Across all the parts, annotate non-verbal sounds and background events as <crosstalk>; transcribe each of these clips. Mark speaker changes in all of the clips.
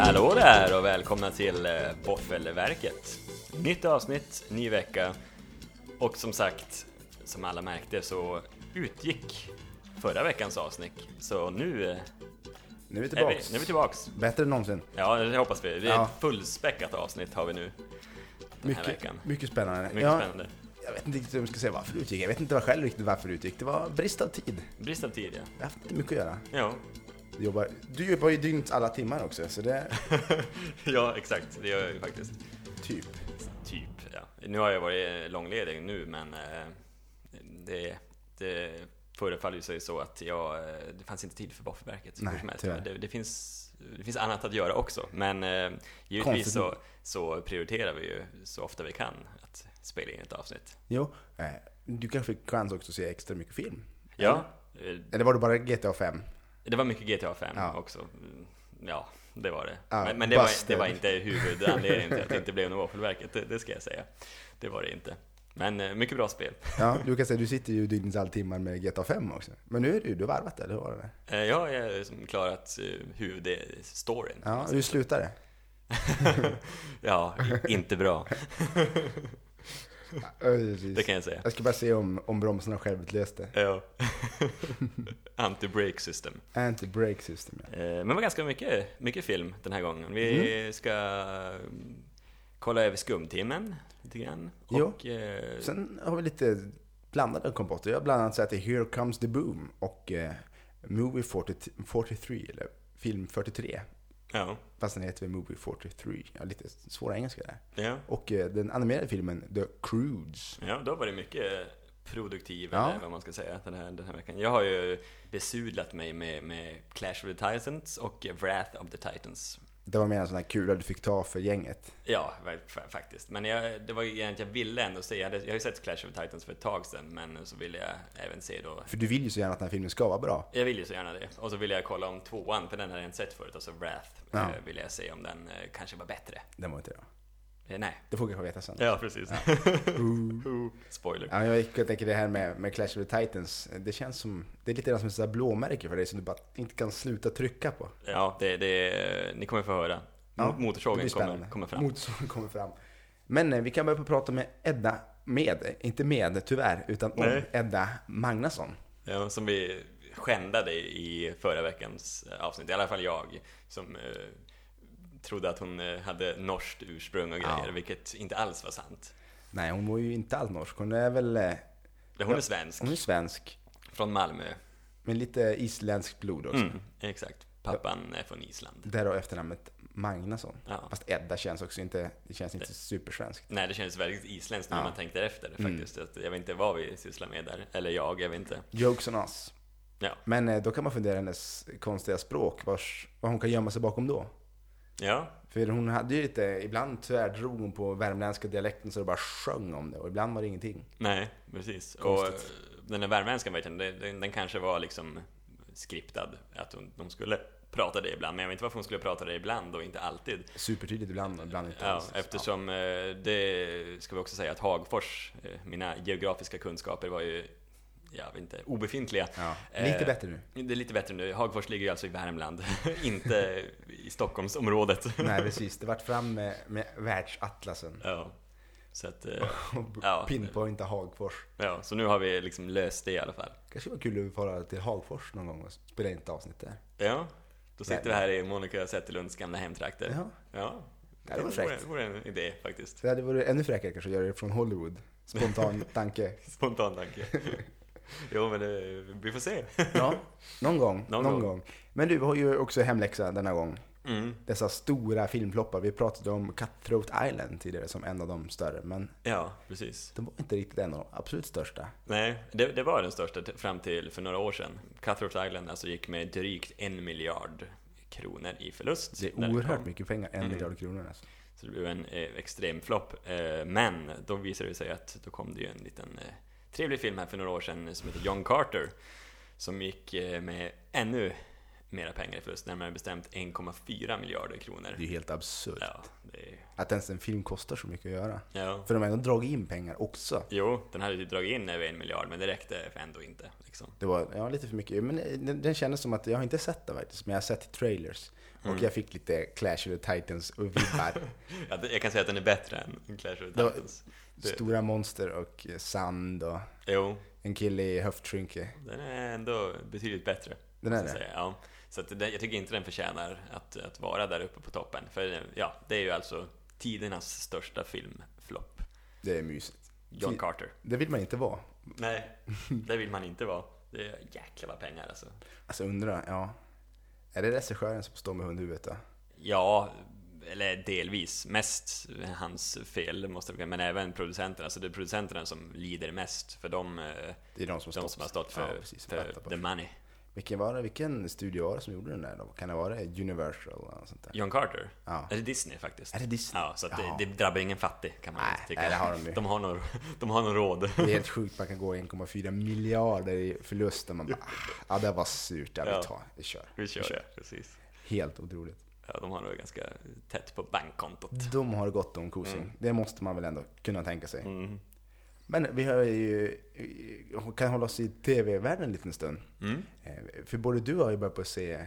Speaker 1: Hallå där och välkomna till eh, Boffelverket. Nytt avsnitt, ny vecka. Och som sagt, som alla märkte så utgick förra veckans avsnitt. Så nu eh,
Speaker 2: Nu
Speaker 1: är vi,
Speaker 2: är vi tillbaks.
Speaker 1: nu är vi tillbaks.
Speaker 2: Bättre än någonsin.
Speaker 1: Ja, det hoppas vi. Det är
Speaker 2: Ja.
Speaker 1: ett fullspäckat avsnitt har vi nu den här
Speaker 2: Mycket,
Speaker 1: veckan.
Speaker 2: mycket spännande.
Speaker 1: Mycket
Speaker 2: ja,
Speaker 1: spännande.
Speaker 2: Jag vet inte riktigt hur jag ska säga varför det utgick. Jag vet inte vad själv riktigt varför det utgick. Det var brist av tid.
Speaker 1: Brist av tid, ja.
Speaker 2: Jag har haft lite mycket att göra.
Speaker 1: Jo,
Speaker 2: Du jobbar, du jobbar ju dygnets alla timmar också, så det
Speaker 1: <laughs>
Speaker 2: är
Speaker 1: <laughs> ja exakt. Det gör jag ju faktiskt.
Speaker 2: typ.
Speaker 1: Typ, ja. Nu har jag varit långledig nu, men eh, det, det förefaller ju sig så att jag, eh, det fanns inte tid för Bofferverket.
Speaker 2: Nej,
Speaker 1: hur som helst.
Speaker 2: tyvärr.
Speaker 1: det, det, finns, det finns annat att göra också, men eh,
Speaker 2: Konstigt.
Speaker 1: givetvis så, så prioriterar vi ju så ofta vi kan att spela in ett avsnitt.
Speaker 2: Jo, eh, du kanske fick chans också att se extra mycket film?
Speaker 1: Ja, eh,
Speaker 2: Eller var det bara GTA 5?
Speaker 1: det var mycket GTA 5
Speaker 2: Ja.
Speaker 1: också. Mm, Ja, det var det.
Speaker 2: Ja,
Speaker 1: men men det, var, det
Speaker 2: busted.
Speaker 1: var inte huvudanledningen till att det inte blev något Våffelverket, det, det ska jag säga. Det var det inte. Men eh, mycket bra spel.
Speaker 2: Ja, du kan säga du sitter ju dygnets alla timmar med GTA 5 också. Men nu är du, du har varvat eller hur var det?
Speaker 1: Eh, Jag har eh, som klarat eh, huvudstoryn. kan
Speaker 2: Ja,
Speaker 1: man säga.
Speaker 2: hur slutar det?
Speaker 1: <laughs> ja, i- inte bra.
Speaker 2: Ja, precis.
Speaker 1: Det kan jag säga.
Speaker 2: Jag ska bara se om, om bromsarna självutlöste.
Speaker 1: Ja. <laughs> Anti-break system.
Speaker 2: Anti-brake system, ja.
Speaker 1: Eh, Men det var ganska mycket, mycket film den här gången. Vi ska mm, kolla över skumtimmen lite grann.
Speaker 2: Jo.
Speaker 1: Och, eh,
Speaker 2: Sen har vi lite blandade kompotter. Jag har bland annat sett Here Comes the Boom och eh, Movie 40, 43, eller Film 43.
Speaker 1: ja,
Speaker 2: Fast den heter väl Movie 43. Ja, lite svåra engelska där.
Speaker 1: ja,
Speaker 2: Och eh, den animerade filmen The Croods.
Speaker 1: ja, då var det mycket produktiv,
Speaker 2: Ja.
Speaker 1: eller vad man ska säga, den här, den här veckan. Jag har ju besudlat mig med, med Clash of the Titans och Wrath of the Titans.
Speaker 2: Det var mer en sån här kula du fick ta för gänget.
Speaker 1: Ja, ver- fa- faktiskt. Men jag, det var ju egentligen jag ville ändå se. Jag, hade, jag har ju sett Clash of Titans för ett tag sedan, men så ville jag även se då.
Speaker 2: För du vill ju så gärna att den här filmen ska vara bra.
Speaker 1: Jag vill ju så gärna det. Och så ville jag kolla om tvåan, för den hade jag inte sett förut, alltså Wrath.
Speaker 2: Ja.
Speaker 1: eh, Ville jag se om den eh, kanske var bättre.
Speaker 2: Den var inte det.
Speaker 1: Eh, nej.
Speaker 2: Det får vi kanske veta sen.
Speaker 1: Ja, <laughs> precis. Spoiler.
Speaker 2: Ja, jag gick och tänker det här med, med Clash of the Titans. Det känns som, det är lite grann som ett sånt där blåmärke för dig som du bara inte kan sluta trycka på.
Speaker 1: Ja, det, det, ni kommer få höra.
Speaker 2: Ja,
Speaker 1: Ja, Motorsågen
Speaker 2: det blir spännande.
Speaker 1: kommer, kommer fram.
Speaker 2: Motorsågen <laughs> kommer fram. Men eh, vi kan börja prata med Edda, med, inte med tyvärr, utan om
Speaker 1: Nej.
Speaker 2: Edda Magnusson.
Speaker 1: Ja, Eh, som vi skändade i förra veckans eh, avsnitt, i alla fall jag, som eh, trodde att hon eh, hade norskt ursprung och grejer,
Speaker 2: Ja.
Speaker 1: vilket inte alls var sant.
Speaker 2: Nej, hon var ju inte alls norsk. Hon är väl, eh,
Speaker 1: Hon är svensk,
Speaker 2: hon är svensk,
Speaker 1: från Malmö.
Speaker 2: med lite isländskt blod också.
Speaker 1: Mm, exakt. Pappan är från Island.
Speaker 2: Därav efternamnet Magnusson.
Speaker 1: Ja.
Speaker 2: Fast Edda känns också inte, det känns inte supersvenskt.
Speaker 1: Nej, det känns väldigt isländskt när
Speaker 2: Ja. Mm.
Speaker 1: man tänkte efter faktiskt. Att jag vet inte vad vi sysslar med där, eller jag, jag vet inte.
Speaker 2: Jokes on us.
Speaker 1: Ja,
Speaker 2: Men eh, då kan man fundera hennes konstiga språk, vars, vad hon kan gömma sig bakom då.
Speaker 1: ja,
Speaker 2: För hon hade ju lite, ibland tyvärr drog hon på värmländska dialekten så det bara sjöng om det och ibland var det ingenting.
Speaker 1: nej, precis. Och eh,
Speaker 2: Konstigt.
Speaker 1: den där värmländskan vet jag inte, den, den kanske var liksom skriptad, att hon, de skulle prata det ibland. Men jag vet inte varför hon skulle prata det ibland och inte alltid.
Speaker 2: Supertydligt ibland och ibland inte
Speaker 1: Ja,
Speaker 2: alls.
Speaker 1: eftersom eh, det ska vi också säga att Hagfors, eh, mina geografiska kunskaper var ju, jag vet inte, obefintliga.
Speaker 2: Ja. Lite
Speaker 1: Eh,
Speaker 2: bättre nu.
Speaker 1: Det är lite bättre nu. Hagfors ligger ju alltså i Värmland, <laughs> inte i Stockholmsområdet.
Speaker 2: Nej precis, det vart fram med, med världsatlasen
Speaker 1: <laughs> ja. Så att, eh,
Speaker 2: och
Speaker 1: Ja.
Speaker 2: pinpointa Hagfors.
Speaker 1: ja, så nu har vi liksom löst det i alla fall.
Speaker 2: Kanske var kul att fara till Hagfors någon gång och spela in ett avsnitt där.
Speaker 1: Ja, då sitter vi här i Monica Zetterlunds gamla hemtrakter.
Speaker 2: Ja.
Speaker 1: Ja.
Speaker 2: Det hade varit
Speaker 1: vore,
Speaker 2: fräckt.
Speaker 1: vore en idé faktiskt.
Speaker 2: Så det vore ännu fräckare kanske att göra det från Hollywood.
Speaker 1: <laughs>
Speaker 2: Spontan tanke.
Speaker 1: Spontan tanke. jo, men det, vi får se.
Speaker 2: Ja, någon gång.
Speaker 1: Någon
Speaker 2: Någon,
Speaker 1: gång.
Speaker 2: gång. Men du har ju också hemläxa denna gång.
Speaker 1: Mm.
Speaker 2: Dessa stora filmploppar. Vi pratade om Cutthroat Island tidigare som en av de större, men
Speaker 1: Ja, precis.
Speaker 2: De var inte riktigt en av de absolut största.
Speaker 1: Nej, det, det var den största t- fram till för några år sedan. Cutthroat Island alltså gick med drygt en miljard kronor i förlust.
Speaker 2: Det är
Speaker 1: när den
Speaker 2: oerhört
Speaker 1: kom.
Speaker 2: mycket pengar,
Speaker 1: Mm.
Speaker 2: en miljard kronor alltså.
Speaker 1: Så det blev en eh, extrem flopp. Eh, men då visade det sig att då kom det ju en liten eh, trevlig film här för några år sedan som heter John Carter. Som gick eh, med ännu mera pengar i förlust, närmare bestämt 1,4 miljarder kronor.
Speaker 2: Det är ju helt absurt.
Speaker 1: Ja, det är...
Speaker 2: Att ens en film kostar så mycket att göra.
Speaker 1: Ja.
Speaker 2: För de har ändå dragit in pengar också.
Speaker 1: Jo, den hade ju dragit in över en miljard, men det räckte för ändå inte. Liksom.
Speaker 2: Det var ja, lite för mycket. Men eh, den, den kändes som att, jag har inte sett det faktiskt, men jag har sett trailers.
Speaker 1: Mm.
Speaker 2: Och jag fick lite Clash of the Titans
Speaker 1: <laughs>
Speaker 2: och vibbar.
Speaker 1: Ja, det- jag kan säga att den är bättre än Clash of the
Speaker 2: Det var-
Speaker 1: Titans. Det-
Speaker 2: Stora monster och eh, sand och
Speaker 1: Jo,
Speaker 2: en kille i höftskynke.
Speaker 1: den är ändå betydligt bättre.
Speaker 2: Den är
Speaker 1: måste jag
Speaker 2: det?
Speaker 1: säga. Ja. Så att den, jag tycker inte den förtjänar att, att vara där uppe på toppen. För ja, det är ju alltså tidernas största filmflopp.
Speaker 2: Det är mysigt.
Speaker 1: John
Speaker 2: Ti-
Speaker 1: Carter.
Speaker 2: Det vill man inte vara.
Speaker 1: Nej,
Speaker 2: <laughs>
Speaker 1: det vill man inte vara. Det är jäkla vad pengar alltså.
Speaker 2: Alltså undra, ja. Är det regissören som står med hundhuvudet då?
Speaker 1: Ja, eller delvis. Mest hans fel, måste det, vara, men även producenterna. Alltså det är producenterna som lider mest, för de, eh,
Speaker 2: Det är de som,
Speaker 1: de som har stått för,
Speaker 2: Ja, precis, som fattar
Speaker 1: för
Speaker 2: på-
Speaker 1: the money.
Speaker 2: vilken, var det, vilken studio var det som gjorde den där då? Kan det vara det? Universal eller något sånt där?
Speaker 1: John Carter?
Speaker 2: Ja.
Speaker 1: Eller Disney faktiskt.
Speaker 2: Är det Disney?
Speaker 1: Ja, så att
Speaker 2: Jaha.
Speaker 1: det, det drabbar ingen fattig kan man
Speaker 2: Nej,
Speaker 1: tycka.
Speaker 2: nej, det har de ju.
Speaker 1: de har nog, de har nog
Speaker 2: <laughs>
Speaker 1: råd.
Speaker 2: Det är helt sjukt, man kan gå 1,4 miljarder i förlust och man bara ah, ja det var surt, ja
Speaker 1: Ja.
Speaker 2: vi tar, vi kör.
Speaker 1: Vi kör det, precis.
Speaker 2: Helt otroligt.
Speaker 1: Ja, de har nog ganska tätt på bankkontot.
Speaker 2: De har gott om kosing, det måste man väl ändå kunna tänka sig. Men vi har ju, kan hålla oss i tv-världen en liten stund. Eh, För både du och jag har ju börjat på att se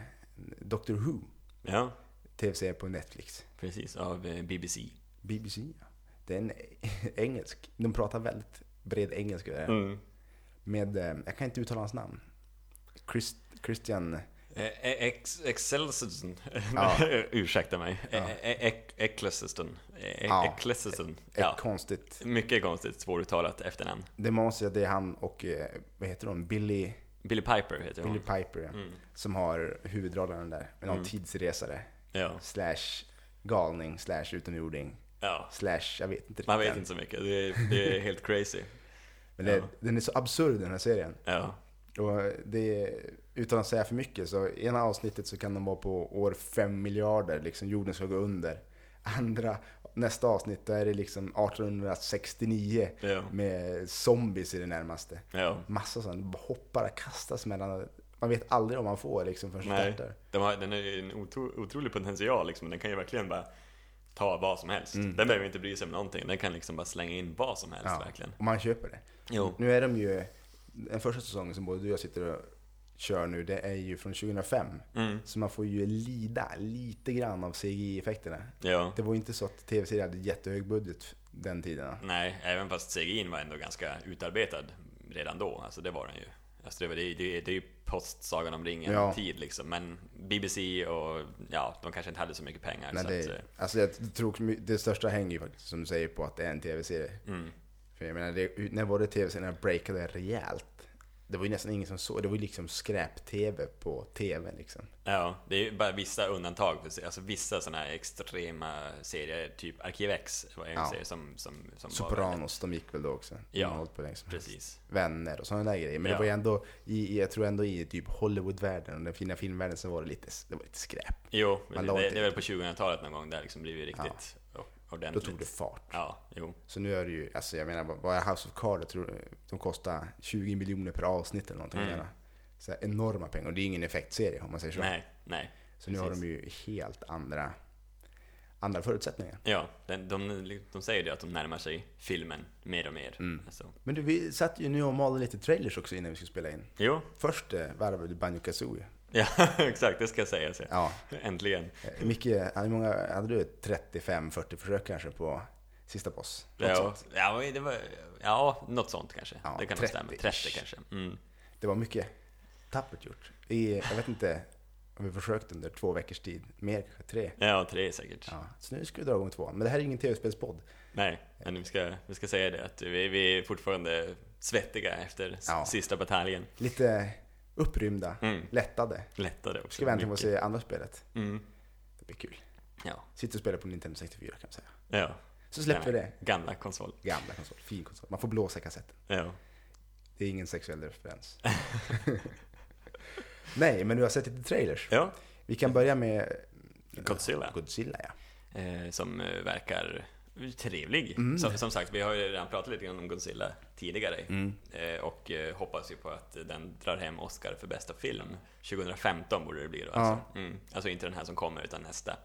Speaker 2: Doctor Who,
Speaker 1: Ja,
Speaker 2: tv-serie på Netflix.
Speaker 1: precis. Av eh, BBC.
Speaker 2: BBC, ja. Det är en <laughs> engelsk, de pratar väldigt bred engelska där. Med, eh, jag kan inte uttala hans namn. Chris, Christian...
Speaker 1: Eh, eh, Ex- Excelsen.
Speaker 2: Ja.
Speaker 1: <laughs> Ursäkta mig. Eh, eh, Ec- Eccleston. Eh,
Speaker 2: Ja.
Speaker 1: Eccleston.
Speaker 2: Ett
Speaker 1: Ja.
Speaker 2: konstigt.
Speaker 1: Mycket konstigt svåruttalat efternamn.
Speaker 2: Det måste säga att det är han och, eh, vad heter de, Billy,
Speaker 1: Billy Piper heter
Speaker 2: Billy
Speaker 1: hon.
Speaker 2: Piper, ja,
Speaker 1: Mm.
Speaker 2: som har huvudrollen där. Någon tidsresare.
Speaker 1: Ja.
Speaker 2: Slash galning, slash utomjording,
Speaker 1: ja.
Speaker 2: slash, jag vet inte
Speaker 1: Man vet
Speaker 2: riktigt än.
Speaker 1: inte så mycket. Det är, det är helt crazy.
Speaker 2: Men det,
Speaker 1: Ja.
Speaker 2: den är så absurd den här serien.
Speaker 1: Ja.
Speaker 2: Och det, är- utan att säga för mycket, så i ena avsnittet så kan de vara på år 5 miljarder, liksom jorden ska gå under. Andra, nästa avsnitt, då är det liksom 1869
Speaker 1: Ja.
Speaker 2: med zombies i det närmaste.
Speaker 1: Ja.
Speaker 2: Massa sånt, bara hoppar och kastas mellan, man vet aldrig om man får liksom förrän det
Speaker 1: Nej,
Speaker 2: startar.
Speaker 1: de har, den har ju en otro, otrolig potential liksom. Den kan ju verkligen bara ta vad som helst. Den behöver inte bry sig om någonting. Den kan liksom bara slänga in vad som helst
Speaker 2: Mm. Ja,
Speaker 1: verkligen.
Speaker 2: och man köper det.
Speaker 1: Jo.
Speaker 2: Nu är de ju, den första säsongen som både du och jag sitter och kör nu, det är ju från 2005.
Speaker 1: Mm.
Speaker 2: Så man får ju lida lite grann av CGI-effekterna.
Speaker 1: Ja.
Speaker 2: Det var ju inte så att tv-serier hade jättehög budget den tiden.
Speaker 1: Nej, även fast CGI var ändå ganska utarbetad redan då. Alltså det var den ju. Alltså det, var, det, det, det är ju post-Sagan om
Speaker 2: Ja.
Speaker 1: ringen-tid liksom. Men BBC och ja, de kanske inte hade så mycket pengar.
Speaker 2: Nej,
Speaker 1: så att,
Speaker 2: det,
Speaker 1: eh,
Speaker 2: alltså jag tror det största hänger ju faktiskt, som du säger, på att det är en tv-serie.
Speaker 1: Mm.
Speaker 2: För jag menar, det, när var det tv-serierna breakade rejält? Det var ju nästan ingen som såg, det var ju liksom skräp-tv på tv liksom.
Speaker 1: ja, det är ju bara vissa undantag. Alltså vissa sådana här extrema serier, typ Arkiv X var en
Speaker 2: Ja.
Speaker 1: serie som, som, som var...
Speaker 2: Sopranos, de gick väl då också? De
Speaker 1: Ja,
Speaker 2: har hållit på länge som helst.
Speaker 1: Precis.
Speaker 2: Vänner och sådana där grejer. Men det
Speaker 1: Ja.
Speaker 2: var ju ändå, i, i- jag tror ändå i typ Hollywood-världen och den fina filmvärlden så var det lite, det var lite skräp.
Speaker 1: Jo,
Speaker 2: Man
Speaker 1: det,
Speaker 2: la
Speaker 1: det,
Speaker 2: inte-
Speaker 1: är väl på 2000-talet någon gång där liksom blivit riktigt o-
Speaker 2: Då
Speaker 1: ordentligt.
Speaker 2: tog det fart.
Speaker 1: Ja, jo.
Speaker 2: Så nu är det ju, alltså jag menar, vad är House of Cards? Jag tror de kostar 20 miljoner per avsnitt eller någonting. Mm. Så här enorma pengar. Och det är ingen effektserie om man säger så.
Speaker 1: Nej, nej.
Speaker 2: så nu har de ju helt andra, andra förutsättningar.
Speaker 1: Ja, de, de, de säger ju det att de närmar sig filmen mer och mer.
Speaker 2: Mm.
Speaker 1: Alltså.
Speaker 2: Men du, vi satt ju nu och malde lite trailers också innan vi skulle spela in.
Speaker 1: Jo, <laughs>
Speaker 2: Först eh, varvade du Banjo Kazooie.
Speaker 1: ja exakt, det ska sägas. Ja.
Speaker 2: Ja.
Speaker 1: Äntligen.
Speaker 2: Eh, Micke, hur många, hade du 35-40 försök kanske på sista boss? Något
Speaker 1: Ja,
Speaker 2: sånt.
Speaker 1: ja, men det var, ja, något sånt kanske.
Speaker 2: Ja,
Speaker 1: det kan nog
Speaker 2: 30
Speaker 1: stämma.
Speaker 2: -ish.
Speaker 1: 30 kanske. Mm.
Speaker 2: Det var mycket tappert gjort. I, jag vet inte om vi försökt under två veckors tid. Mer kanske tre.
Speaker 1: Ja, tre säkert.
Speaker 2: Ja, så nu ska vi dra igång två. Men det här är ingen tv-spelspodd.
Speaker 1: Nej, men vi ska, vi ska säga det att vi, vi är fortfarande svettiga efter s-
Speaker 2: Ja.
Speaker 1: sista bataljen.
Speaker 2: Lite upprymda, lättade.
Speaker 1: Lättade också.
Speaker 2: Ska vi äntligen få
Speaker 1: Mm. mycket.
Speaker 2: se andra spelet.
Speaker 1: Mm.
Speaker 2: Det blir kul.
Speaker 1: Ja.
Speaker 2: Sitter och spelar på Nintendo 64 kan man säga.
Speaker 1: ja.
Speaker 2: Så släpper vi
Speaker 1: Gamla-
Speaker 2: det.
Speaker 1: Gamla konsol.
Speaker 2: Gamla konsol, fin konsol. Man får blåsa kassetten.
Speaker 1: Ja.
Speaker 2: Det är ingen
Speaker 1: <laughs>
Speaker 2: sexuell referens. Nej, men du har sett lite trailers.
Speaker 1: ja.
Speaker 2: Vi kan börja med eh,
Speaker 1: Godzilla.
Speaker 2: Godzilla ja.
Speaker 1: Eh, som eh, verkar trevlig.
Speaker 2: Mm.
Speaker 1: Som, som sagt, vi har ju redan pratat lite grann om Godzilla tidigare.
Speaker 2: Mm.
Speaker 1: Eh, och eh, hoppas ju på att den drar hem Oscar för bästa film. 2015 borde det bli då alltså. Mm. Alltså inte den här som kommer, utan nästa.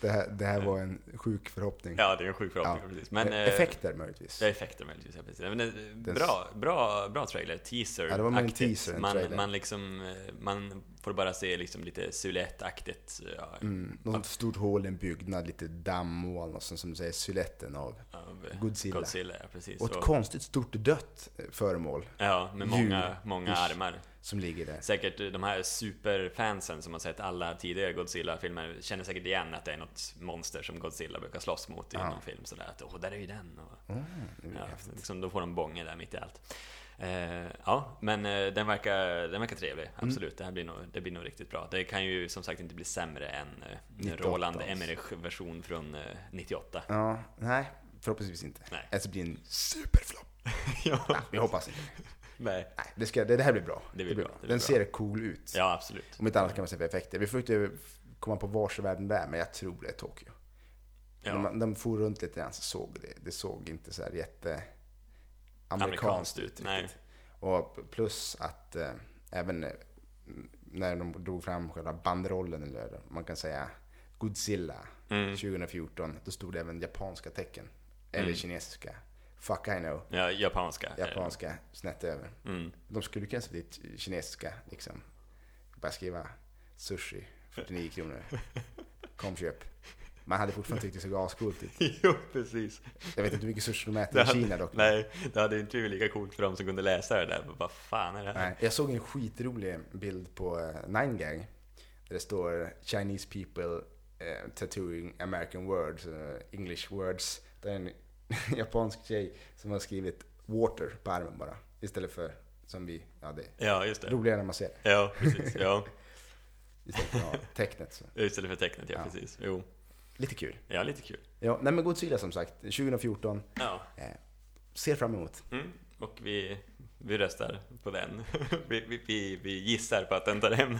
Speaker 2: Det här, det här var en sjuk förhoppning.
Speaker 1: Ja, det är en sjuk förhoppning precis. Men,
Speaker 2: Eh,
Speaker 1: eh,
Speaker 2: Effekter möjligtvis.
Speaker 1: Ja, effekter möjligtvis. Ja, precis. Men, eh, bra, bra, bra trailer, teaser.
Speaker 2: Ja, det var mer en
Speaker 1: aktigt.
Speaker 2: teaser än
Speaker 1: man,
Speaker 2: trailer.
Speaker 1: man, liksom, eh, man får bara se liksom lite Zulette-aktigt. Ja,
Speaker 2: Mm. Något stort hål i en byggnad, lite dammoln och sen som du säger, siluetten av.
Speaker 1: av, eh,
Speaker 2: Godzilla.
Speaker 1: Godzilla ja, precis.
Speaker 2: Och ett
Speaker 1: Och,
Speaker 2: konstigt stort dött föremål
Speaker 1: ja, med många,
Speaker 2: djur.
Speaker 1: många
Speaker 2: Usch.
Speaker 1: armar.
Speaker 2: som ligger där.
Speaker 1: Säkert eh, de här superfansen som har sett alla tidigare Godzilla-filmer känner säkert igen att det är något monster som Godzilla brukar slåss mot i någon film. Sådär att, åh, där är ju den. Och,
Speaker 2: Ah,
Speaker 1: Ja, liksom, då får de bånge där mitt i allt. Eh, ja, men eh, den, verkar, den verkar trevlig,
Speaker 2: Mm.
Speaker 1: absolut. Det här blir nog, det blir nog riktigt bra. Det kan ju som sagt inte bli sämre än eh,
Speaker 2: 98
Speaker 1: Roland
Speaker 2: alltså.
Speaker 1: Emmerich version från eh,
Speaker 2: <laughs>
Speaker 1: 98.
Speaker 2: Ja, nej, förhoppningsvis inte.
Speaker 1: Nej.
Speaker 2: Eller så blir det en superflopp.
Speaker 1: ja,
Speaker 2: Jag hoppas inte.
Speaker 1: nej.
Speaker 2: Nej, det, ska, det, det här blir bra.
Speaker 1: blir bra, det blir
Speaker 2: Den
Speaker 1: bra.
Speaker 2: ser cool ut.
Speaker 1: ja, absolut.
Speaker 2: Om inte annat kan man se för effekter. Vi får inte komma på vars i världen det är, men jag tror det är Tokyo.
Speaker 1: Ja.
Speaker 2: De, de for runt lite grann så såg det, det såg inte så här jätte
Speaker 1: Amerikanskt
Speaker 2: amerikanskt
Speaker 1: ut,
Speaker 2: ut.
Speaker 1: nej.
Speaker 2: riktigt. Och plus att eh, även eh, när de drog fram själva banderollen, eller man kan säga Godzilla 2014, då stod det även japanska tecken. Eller kinesiska. Fuck I know.
Speaker 1: Ja, japanska. Mm. är det.
Speaker 2: Japanska snett över. De skulle kunna sätta dit kinesiska liksom. Bara skriva sushi 49 kronor. Kom köp. Man hade fortfarande tyckt det såg ascoolt ut.
Speaker 1: <laughs> jo, precis.
Speaker 2: Jag vet inte hur mycket sushi de äter i Kina dock.
Speaker 1: Nej, det hade inte blivit lika coolt för de som kunde läsa det där. Vad fan är det här?
Speaker 2: Nej. Jag såg en skitrolig bild på eh, Nine Gang. Där det står Chinese people eh, tattooing American words, eh, English words. Det är en <laughs> japansk tjej som har skrivit water på armen bara. Istället för som vi, ja det är
Speaker 1: Ja, just det.
Speaker 2: roligare när man ser det. <laughs>
Speaker 1: Ja, precis. Ja,
Speaker 2: Istället för att ha <laughs> tecknet. Så.
Speaker 1: istället för tecknet, ja,
Speaker 2: Ja.
Speaker 1: precis. Jo,
Speaker 2: Lite kul.
Speaker 1: ja, lite kul.
Speaker 2: Ja, nej men Godzilla som sagt, 2014.
Speaker 1: Ja.
Speaker 2: Eh, ser fram emot.
Speaker 1: Mm. Och vi, vi röstar på den. <laughs> Vi, vi, vi, vi gissar på att den tar
Speaker 2: <laughs>
Speaker 1: hem,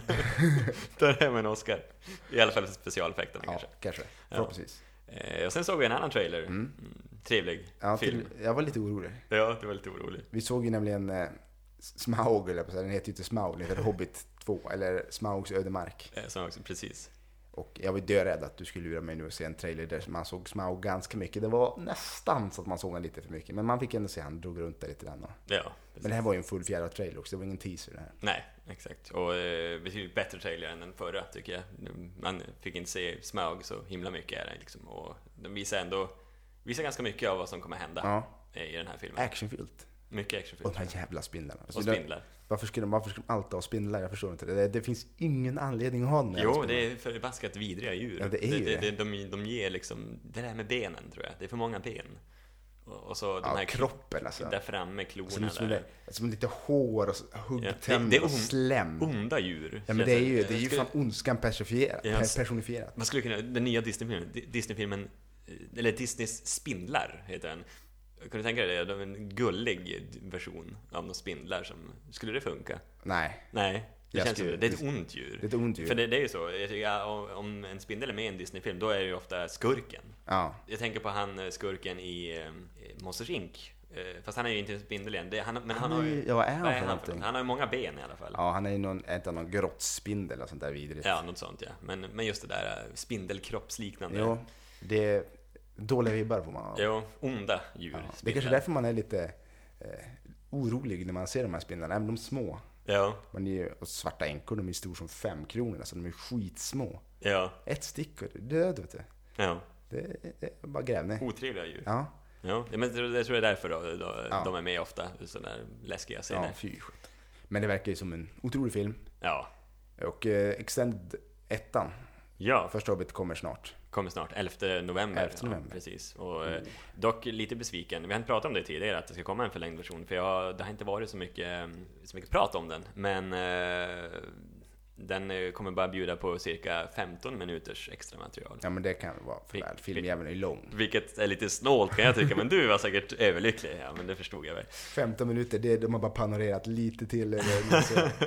Speaker 1: tar hem en Oscar. I alla fall för specialeffekterna
Speaker 2: Ja,
Speaker 1: kanske.
Speaker 2: kanske. Förhoppningsvis.
Speaker 1: Eh, och sen såg vi en annan trailer. Mm, Trevlig
Speaker 2: Ja,
Speaker 1: film.
Speaker 2: till, jag var lite orolig.
Speaker 1: Ja, det var lite orolig.
Speaker 2: Vi såg ju nämligen eh, Smaug, eller jag på att säga. Den heter ju inte Smaug, den heter Hobbit 2, eller Smaugs ödemark.
Speaker 1: Eh, som också, precis.
Speaker 2: Och jag var ju dörädd att du skulle lura mig nu och se en trailer där man såg Smaug ganska mycket. Det var nästan så att man såg honom lite för mycket, men man fick ändå se han drog runt där lite grann. och-
Speaker 1: Ja, precis.
Speaker 2: Men det här var ju en fullfjädrad trailer också, det var ingen teaser det här.
Speaker 1: Nej, exakt. Och eh, betydligt bättre trailer än den förra, tycker jag. Man fick inte se Smaug så himla mycket. Här, liksom. Och den visar ändå visar ganska mycket av vad som kommer hända
Speaker 2: Ja.
Speaker 1: eh, i den här filmen.
Speaker 2: Actionfyllt.
Speaker 1: Mycket
Speaker 2: Och
Speaker 1: actionfilm.
Speaker 2: de här jävla spindlarna. Alltså,
Speaker 1: Och
Speaker 2: det-
Speaker 1: spindlar.
Speaker 2: Varför ska, de, varför ska de alltid ha spindlar? Jag förstår inte. Det, det finns ingen anledning att ha den här
Speaker 1: Jo,
Speaker 2: spindeln.
Speaker 1: det är förbaskat vidriga djur.
Speaker 2: Ja, det är ju
Speaker 1: det,
Speaker 2: det.
Speaker 1: de, de ger liksom, det där med benen tror jag, det är för många ben. Och, och så de
Speaker 2: Ja,
Speaker 1: här
Speaker 2: kroppen alltså.
Speaker 1: där framme, klorna
Speaker 2: Som, som,
Speaker 1: där.
Speaker 2: det- som lite hår och s-
Speaker 1: Ja, det-
Speaker 2: huggtänder
Speaker 1: det är
Speaker 2: och
Speaker 1: on-
Speaker 2: slem.
Speaker 1: Onda djur.
Speaker 2: ja, men
Speaker 1: känns
Speaker 2: det är ju,
Speaker 1: Jag
Speaker 2: det är ju
Speaker 1: skulle-
Speaker 2: fan ondskan personifierad.
Speaker 1: Ja,
Speaker 2: per- personifierad.
Speaker 1: Man skulle kunna, den nya Disney-filmen, Di- Disney-filmen, eh, eller Disneys spindlar heter den. Kan du tänka dig det? De är en gullig version av några spindlar som, skulle det funka?
Speaker 2: Nej,
Speaker 1: Nej, det
Speaker 2: Jag
Speaker 1: känns
Speaker 2: skulle-
Speaker 1: ju, det är ett ont djur.
Speaker 2: det är ett ont djur.
Speaker 1: För det, det är ju så, jag tycker, ja, om- om en spindel är med i en Disney-film, då är det ju ofta skurken.
Speaker 2: Ja.
Speaker 1: Jag tänker på han eh, skurken i eh, Monsters Inc. Eh, Fast han är ju inte en spindel än. Det, han, men han,
Speaker 2: är
Speaker 1: har
Speaker 2: ju-
Speaker 1: ju...
Speaker 2: ja, vad är han
Speaker 1: vad
Speaker 2: för
Speaker 1: han,
Speaker 2: någonting?
Speaker 1: han har ju många ben i alla fall. Ja,
Speaker 2: ja, han är ju någon, är inte någon grottspindel och sånt där vidrigt.
Speaker 1: något sånt ja. Men, men just det där eh, spindelkroppsliknande.
Speaker 2: Jo, det är dåliga vibbar får man ha.
Speaker 1: Jo, onda djur.
Speaker 2: det är kanske
Speaker 1: spindlar.
Speaker 2: är därför man är lite eh, orolig när man ser de här spindlarna, även de små.
Speaker 1: Ja,
Speaker 2: Man är ju, och svarta änkor, de är stora som fem kronor, alltså de är skitsmå.
Speaker 1: ja,
Speaker 2: Ett stick och du är död vet du.
Speaker 1: ja.
Speaker 2: Det är- det är bara gräv ner.
Speaker 1: Otrevliga djur. Ja.
Speaker 2: Ja,
Speaker 1: men jag tror jag tror det är därför då, då
Speaker 2: Ja.
Speaker 1: de är med ofta. i Sådana där läskiga
Speaker 2: ja
Speaker 1: scener.
Speaker 2: fy skit. Men det verkar ju som en otrolig film.
Speaker 1: Ja.
Speaker 2: Och eh, Extended 1,
Speaker 1: Ja,
Speaker 2: första Hobbit kommer snart.
Speaker 1: Kommer snart, 11 november.
Speaker 2: 11 november.
Speaker 1: Ja, precis. Och, eh, Dock lite besviken. Vi har inte pratat om det tidigare, att det ska komma en förlängd version, för jag, det har inte varit så mycket, eh, så mycket prat om den. Men eh, den eh, kommer bara bjuda på cirka 15 minuters extra material.
Speaker 2: Ja men det kan vara för
Speaker 1: Vi-
Speaker 2: väl, filmjäveln är ju lång.
Speaker 1: Vilket är lite snålt kan jag tycka, men du var säkert överlycklig. Ja, men det förstod jag väl.
Speaker 2: 15 minuter, det, är- de har bara panorerat lite
Speaker 1: <laughs>
Speaker 2: till. Eller, <laughs> något så.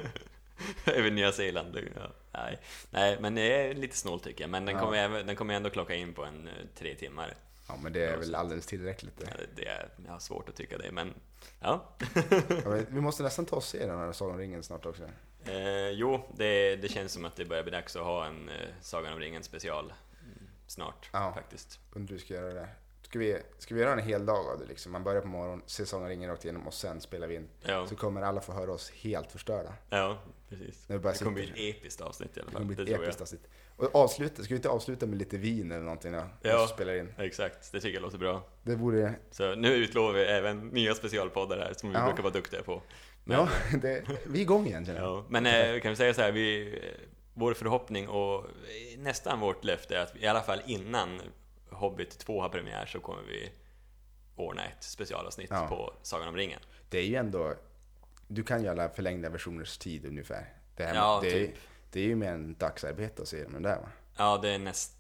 Speaker 1: Över Nya Zeeland. Ja. Nej. Nej, men det är lite snålt tycker jag. Men den kommer även- den kommer ändå klocka in på en eh, tre timmar. Eh,
Speaker 2: Ja, men det är väl alldeles tillräckligt det.
Speaker 1: Det är, jag har svårt att tycka det, men ja.
Speaker 2: Ja, men vi måste nästan ta oss i den här Sagan om ringen snart också.
Speaker 1: Eh, jo, det, det känns som att det börjar bli dags att ha en eh, Sagan om ringen special mm, snart
Speaker 2: Ja.
Speaker 1: faktiskt.
Speaker 2: Undrar hur vi ska göra det. Ska vi, ska vi göra en hel dag av det liksom? Man börjar på morgonen, ser Sagan om ringen rakt igenom och sen spelar vi in.
Speaker 1: Ja,
Speaker 2: Så kommer alla få höra oss helt förstörda.
Speaker 1: ja precis.
Speaker 2: När vi bara
Speaker 1: Det kommer bli
Speaker 2: sitter.
Speaker 1: ett episkt avsnitt i alla
Speaker 2: Det kommer
Speaker 1: fall.
Speaker 2: bli
Speaker 1: Det
Speaker 2: ett
Speaker 1: tror jag.
Speaker 2: episkt avsnitt. Och avsluta, ska vi inte avsluta med lite vin eller någonting då?
Speaker 1: Ja.
Speaker 2: Och spelar in.
Speaker 1: Exakt, det tycker jag låter bra.
Speaker 2: Det vore...
Speaker 1: Så nu utlovar vi även nya specialpoddar här som vi
Speaker 2: Ja.
Speaker 1: brukar vara duktiga på. Men,
Speaker 2: Ja, <laughs> det, vi är igång igen känner jag.
Speaker 1: Ja, men eh, vi kan väl säga så här, vi, eh, vår förhoppning och eh, nästan vårt löfte är att vi, i alla fall innan Hobbit 2 har premiär så kommer vi ordna ett specialavsnitt
Speaker 2: Ja.
Speaker 1: på Sagan om ringen.
Speaker 2: Det är ju ändå... Du kan ju alla förlängda versioners tid ungefär. Det, här,
Speaker 1: Ja,
Speaker 2: det,
Speaker 1: typ.
Speaker 2: är, det är ju mer en dagsarbete att se dem där va?
Speaker 1: Ja, det är näst,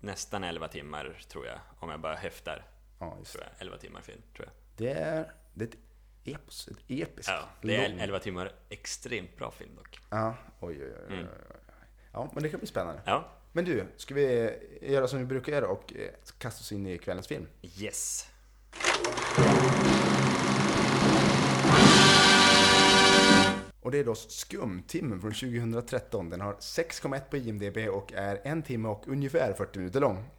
Speaker 1: nästan 11 timmar tror jag, om jag bara häftar.
Speaker 2: Ja, just
Speaker 1: Tror jag. 11 timmar film, tror jag.
Speaker 2: det. är, det är ett epos, ett episkt.
Speaker 1: Ja, det är
Speaker 2: lång-
Speaker 1: 11 timmar extremt bra film dock.
Speaker 2: Ja, oj, oj, oj, oj. Ja, men det kan bli spännande.
Speaker 1: Mm. Ja,
Speaker 2: Men du, ska vi göra som vi brukar göra och eh, kasta oss in i kvällens film?
Speaker 1: yes.
Speaker 2: Och det är då Skumtimmen från 2013. Den har 6,1 på IMDB och är en timme och ungefär 40 minuter lång.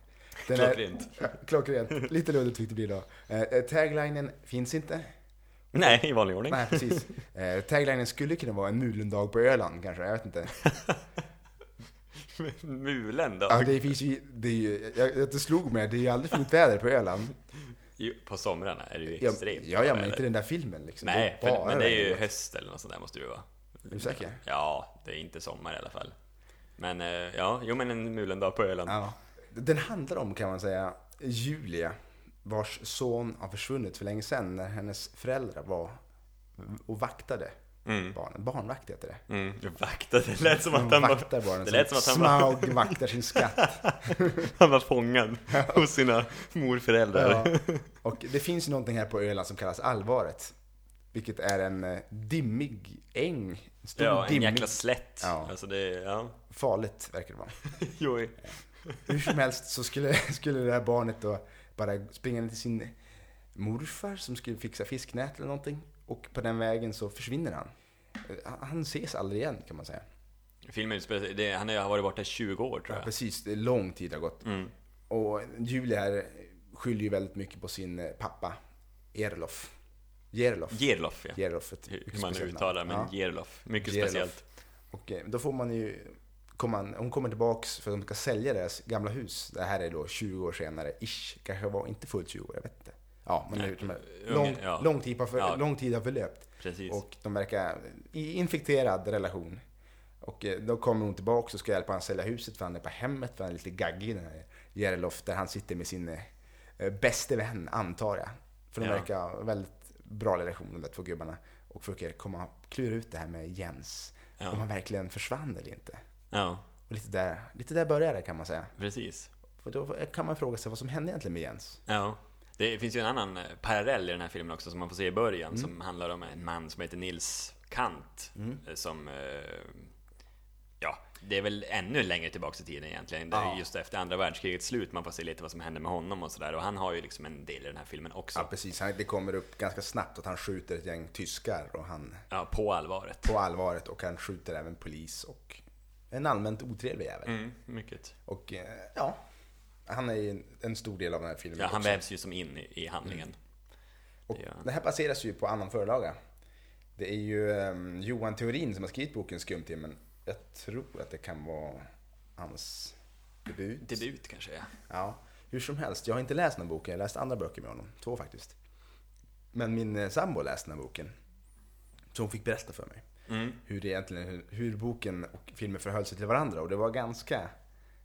Speaker 2: Den är-
Speaker 1: Klockrent.
Speaker 2: Ja, <laughs> Klockrent. Lite luddigt fick det bli då. Eh, eh, taglinen finns inte.
Speaker 1: Nej, i vanlig ordning.
Speaker 2: Nej, precis. Eh, taglinen skulle kunna vara en mulendag på Öland kanske, jag
Speaker 1: <laughs>
Speaker 2: vet inte.
Speaker 1: Mulen då?
Speaker 2: Ja, det finns ju, det är ju, jag, jag det slog mig, det är ju aldrig fint väder på Öland.
Speaker 1: Jo, På somrarna är det ju
Speaker 2: Ja,
Speaker 1: extremt
Speaker 2: ja, ja,
Speaker 1: bra
Speaker 2: men
Speaker 1: väder.
Speaker 2: inte den där filmen liksom.
Speaker 1: Nej,
Speaker 2: Det är
Speaker 1: för,
Speaker 2: bara
Speaker 1: men det är ju
Speaker 2: regn.
Speaker 1: höst eller något sånt där måste det ju vara.
Speaker 2: Är du säker?
Speaker 1: Ja, det är inte sommar i alla fall. Men eh, ja, jo men en mulen dag på Öland.
Speaker 2: Ja. Den handlar om, kan man säga, Julia, vars son har försvunnit för länge sedan när hennes föräldrar var och vaktade barnen. Barnvakt heter det.
Speaker 1: Mm, jag vaktade, det lät som att
Speaker 2: De
Speaker 1: han
Speaker 2: vaktar
Speaker 1: var,
Speaker 2: barnen.
Speaker 1: det lät som att han var,
Speaker 2: Smaug vaktar sin skatt.
Speaker 1: han var
Speaker 2: <laughs>
Speaker 1: fångad hos sina morföräldrar. <laughs>
Speaker 2: Ja. Och det finns ju någonting här på Öland som kallas Allvaret. Vilket är en eh, dimmig äng. En stor
Speaker 1: Ja, en
Speaker 2: dimmig.
Speaker 1: jäkla slätt.
Speaker 2: Ja.
Speaker 1: Alltså det, ja. <laughs>
Speaker 2: Farligt verkar det vara.
Speaker 1: Jo,
Speaker 2: Hur som helst så skulle, <laughs> skulle det här barnet då bara springa ner till sin morfar som skulle fixa fisknät eller någonting. Och på den vägen så försvinner han. Eh, Han ses aldrig igen kan man säga.
Speaker 1: filmen utspelar sig, det- han har varit borta i 20 år tror jag. Mm.
Speaker 2: Precis, det är lång tid har gått. Och Julia här skyller ju väldigt mycket på sin eh, pappa Erlof. Gerlof.
Speaker 1: Gerloff ja.
Speaker 2: Gerlof. ett
Speaker 1: Hur
Speaker 2: mycket
Speaker 1: man
Speaker 2: speciellt namn.
Speaker 1: uttalar, men
Speaker 2: Ja.
Speaker 1: Gerloff. Mycket
Speaker 2: Gerloff.
Speaker 1: speciellt.
Speaker 2: Och eh, då får man ju, kommer man, hon kommer tillbaks för att de ska sälja deras gamla hus. Det här är då 20 år senare, ish. Kanske var inte fullt 20 år, jag vet inte. Ja, men
Speaker 1: Nej,
Speaker 2: hur som helst.
Speaker 1: unge,
Speaker 2: lång,
Speaker 1: ja.
Speaker 2: lång, tid har för,
Speaker 1: Ja.
Speaker 2: lång tid har förlöpt.
Speaker 1: Precis.
Speaker 2: Och de verkar i infekterad relation. Och eh, då kommer hon tillbaks och ska hjälpa honom sälja huset för han är på hemmet, för han är lite gaggig den här Gerlof, där han sitter med sin eh, bäste vän, antar jag. För de
Speaker 1: Ja.
Speaker 2: verkar ha väldigt bra relation de där två gubbarna. Och försöker komma, klura ut det här med Jens.
Speaker 1: Ja.
Speaker 2: Om han verkligen försvann eller inte.
Speaker 1: Ja,
Speaker 2: Och lite där, lite där börjar det kan man säga.
Speaker 1: precis.
Speaker 2: För då kan man fråga sig vad som hände egentligen med Jens.
Speaker 1: Ja. Det finns ju en annan eh, parallell i den här filmen också som man får se i början
Speaker 2: Mm.
Speaker 1: som handlar om en man som heter Nils Kant. eh, Som, eh, ja, det är väl ännu längre tillbaks i tiden egentligen. Det är
Speaker 2: Ja.
Speaker 1: Just efter andra världskrigets slut man får se lite vad som hände med honom och sådär. Och han har ju liksom en del i den här filmen också.
Speaker 2: Ja, precis. Han, det kommer upp ganska snabbt att han skjuter ett gäng tyskar och han
Speaker 1: Ja, på allvaret.
Speaker 2: på allvaret och han skjuter även polis och en allmänt otrevlig jävel.
Speaker 1: Mm, mycket.
Speaker 2: Och eh, ja, han är ju en- en stor del av den här filmen.
Speaker 1: Ja, han
Speaker 2: också.
Speaker 1: vävs ju som in i, i handlingen.
Speaker 2: och
Speaker 1: ja.
Speaker 2: Det här baseras ju på annan förlaga. Det är ju ehm, Johan Theorin som har skrivit boken Skumtimmen. Jag tror att det kan vara hans debut.
Speaker 1: Debut kanske, ja.
Speaker 2: Ja, hur som helst. Jag har inte läst den här boken. Jag har läst andra böcker med honom. Två faktiskt. Men min eh, sambo läste den här boken. Så hon fick berätta för mig.
Speaker 1: Mm.
Speaker 2: Hur, det egentligen, hur, hur boken och filmen förhöll sig till varandra. Och det var ganska,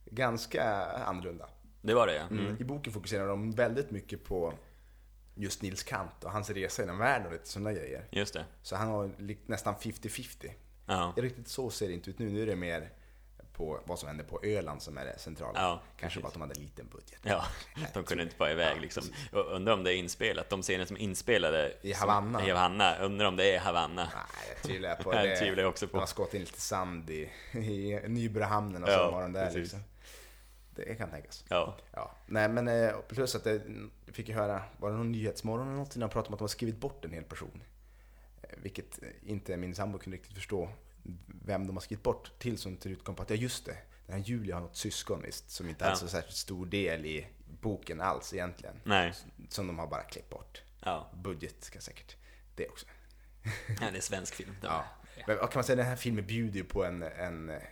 Speaker 2: ganska annorlunda.
Speaker 1: Det var det ja. Mm.
Speaker 2: I boken fokuserar de väldigt mycket på just Nils Kant och hans resa genom världen och lite sådana grejer.
Speaker 1: Just det.
Speaker 2: Så han har li- nästan 50-50.
Speaker 1: Ja.
Speaker 2: Riktigt så ser det inte ut nu. Nu är det mer på vad som händer på Öland som är det centrala.
Speaker 1: Ja,
Speaker 2: Kanske bara att de hade en liten budget.
Speaker 1: Ja, <laughs> de kunde inte bara iväg liksom. Jag undrar om det är inspelat. De scener som är inspelade
Speaker 2: I Havanna.
Speaker 1: Som, I Havanna. Undrar om det är Havanna.
Speaker 2: Nej, jag tvivlar
Speaker 1: <laughs>
Speaker 2: på
Speaker 1: Det
Speaker 2: det.
Speaker 1: tvivlar jag också på.
Speaker 2: De har skått in lite sand i, i Nybrohamnen och
Speaker 1: Ja,
Speaker 2: så var de där
Speaker 1: precis.
Speaker 2: liksom. Det kan tänkas.
Speaker 1: Ja.
Speaker 2: Ja. Nej, men eh, plus att jag fick ju höra, var det någon nyhetsmorgon eller någonting, när de pratade om att de har skrivit bort en hel person. Eh, Vilket eh, inte min sambo kunde riktigt förstå vem de har skrivit bort tills hon till slut kom på att ja just det, den här Julia har något syskon visst, som inte
Speaker 1: Ja.
Speaker 2: alls är särskilt stor del i boken alls egentligen.
Speaker 1: Nej.
Speaker 2: Som de har bara klippt bort.
Speaker 1: Ja.
Speaker 2: Budget ska säkert det också.
Speaker 1: ja, det är svensk film.
Speaker 2: Ja. Men vad kan man säga, den här filmen bjuder ju på en, en eh,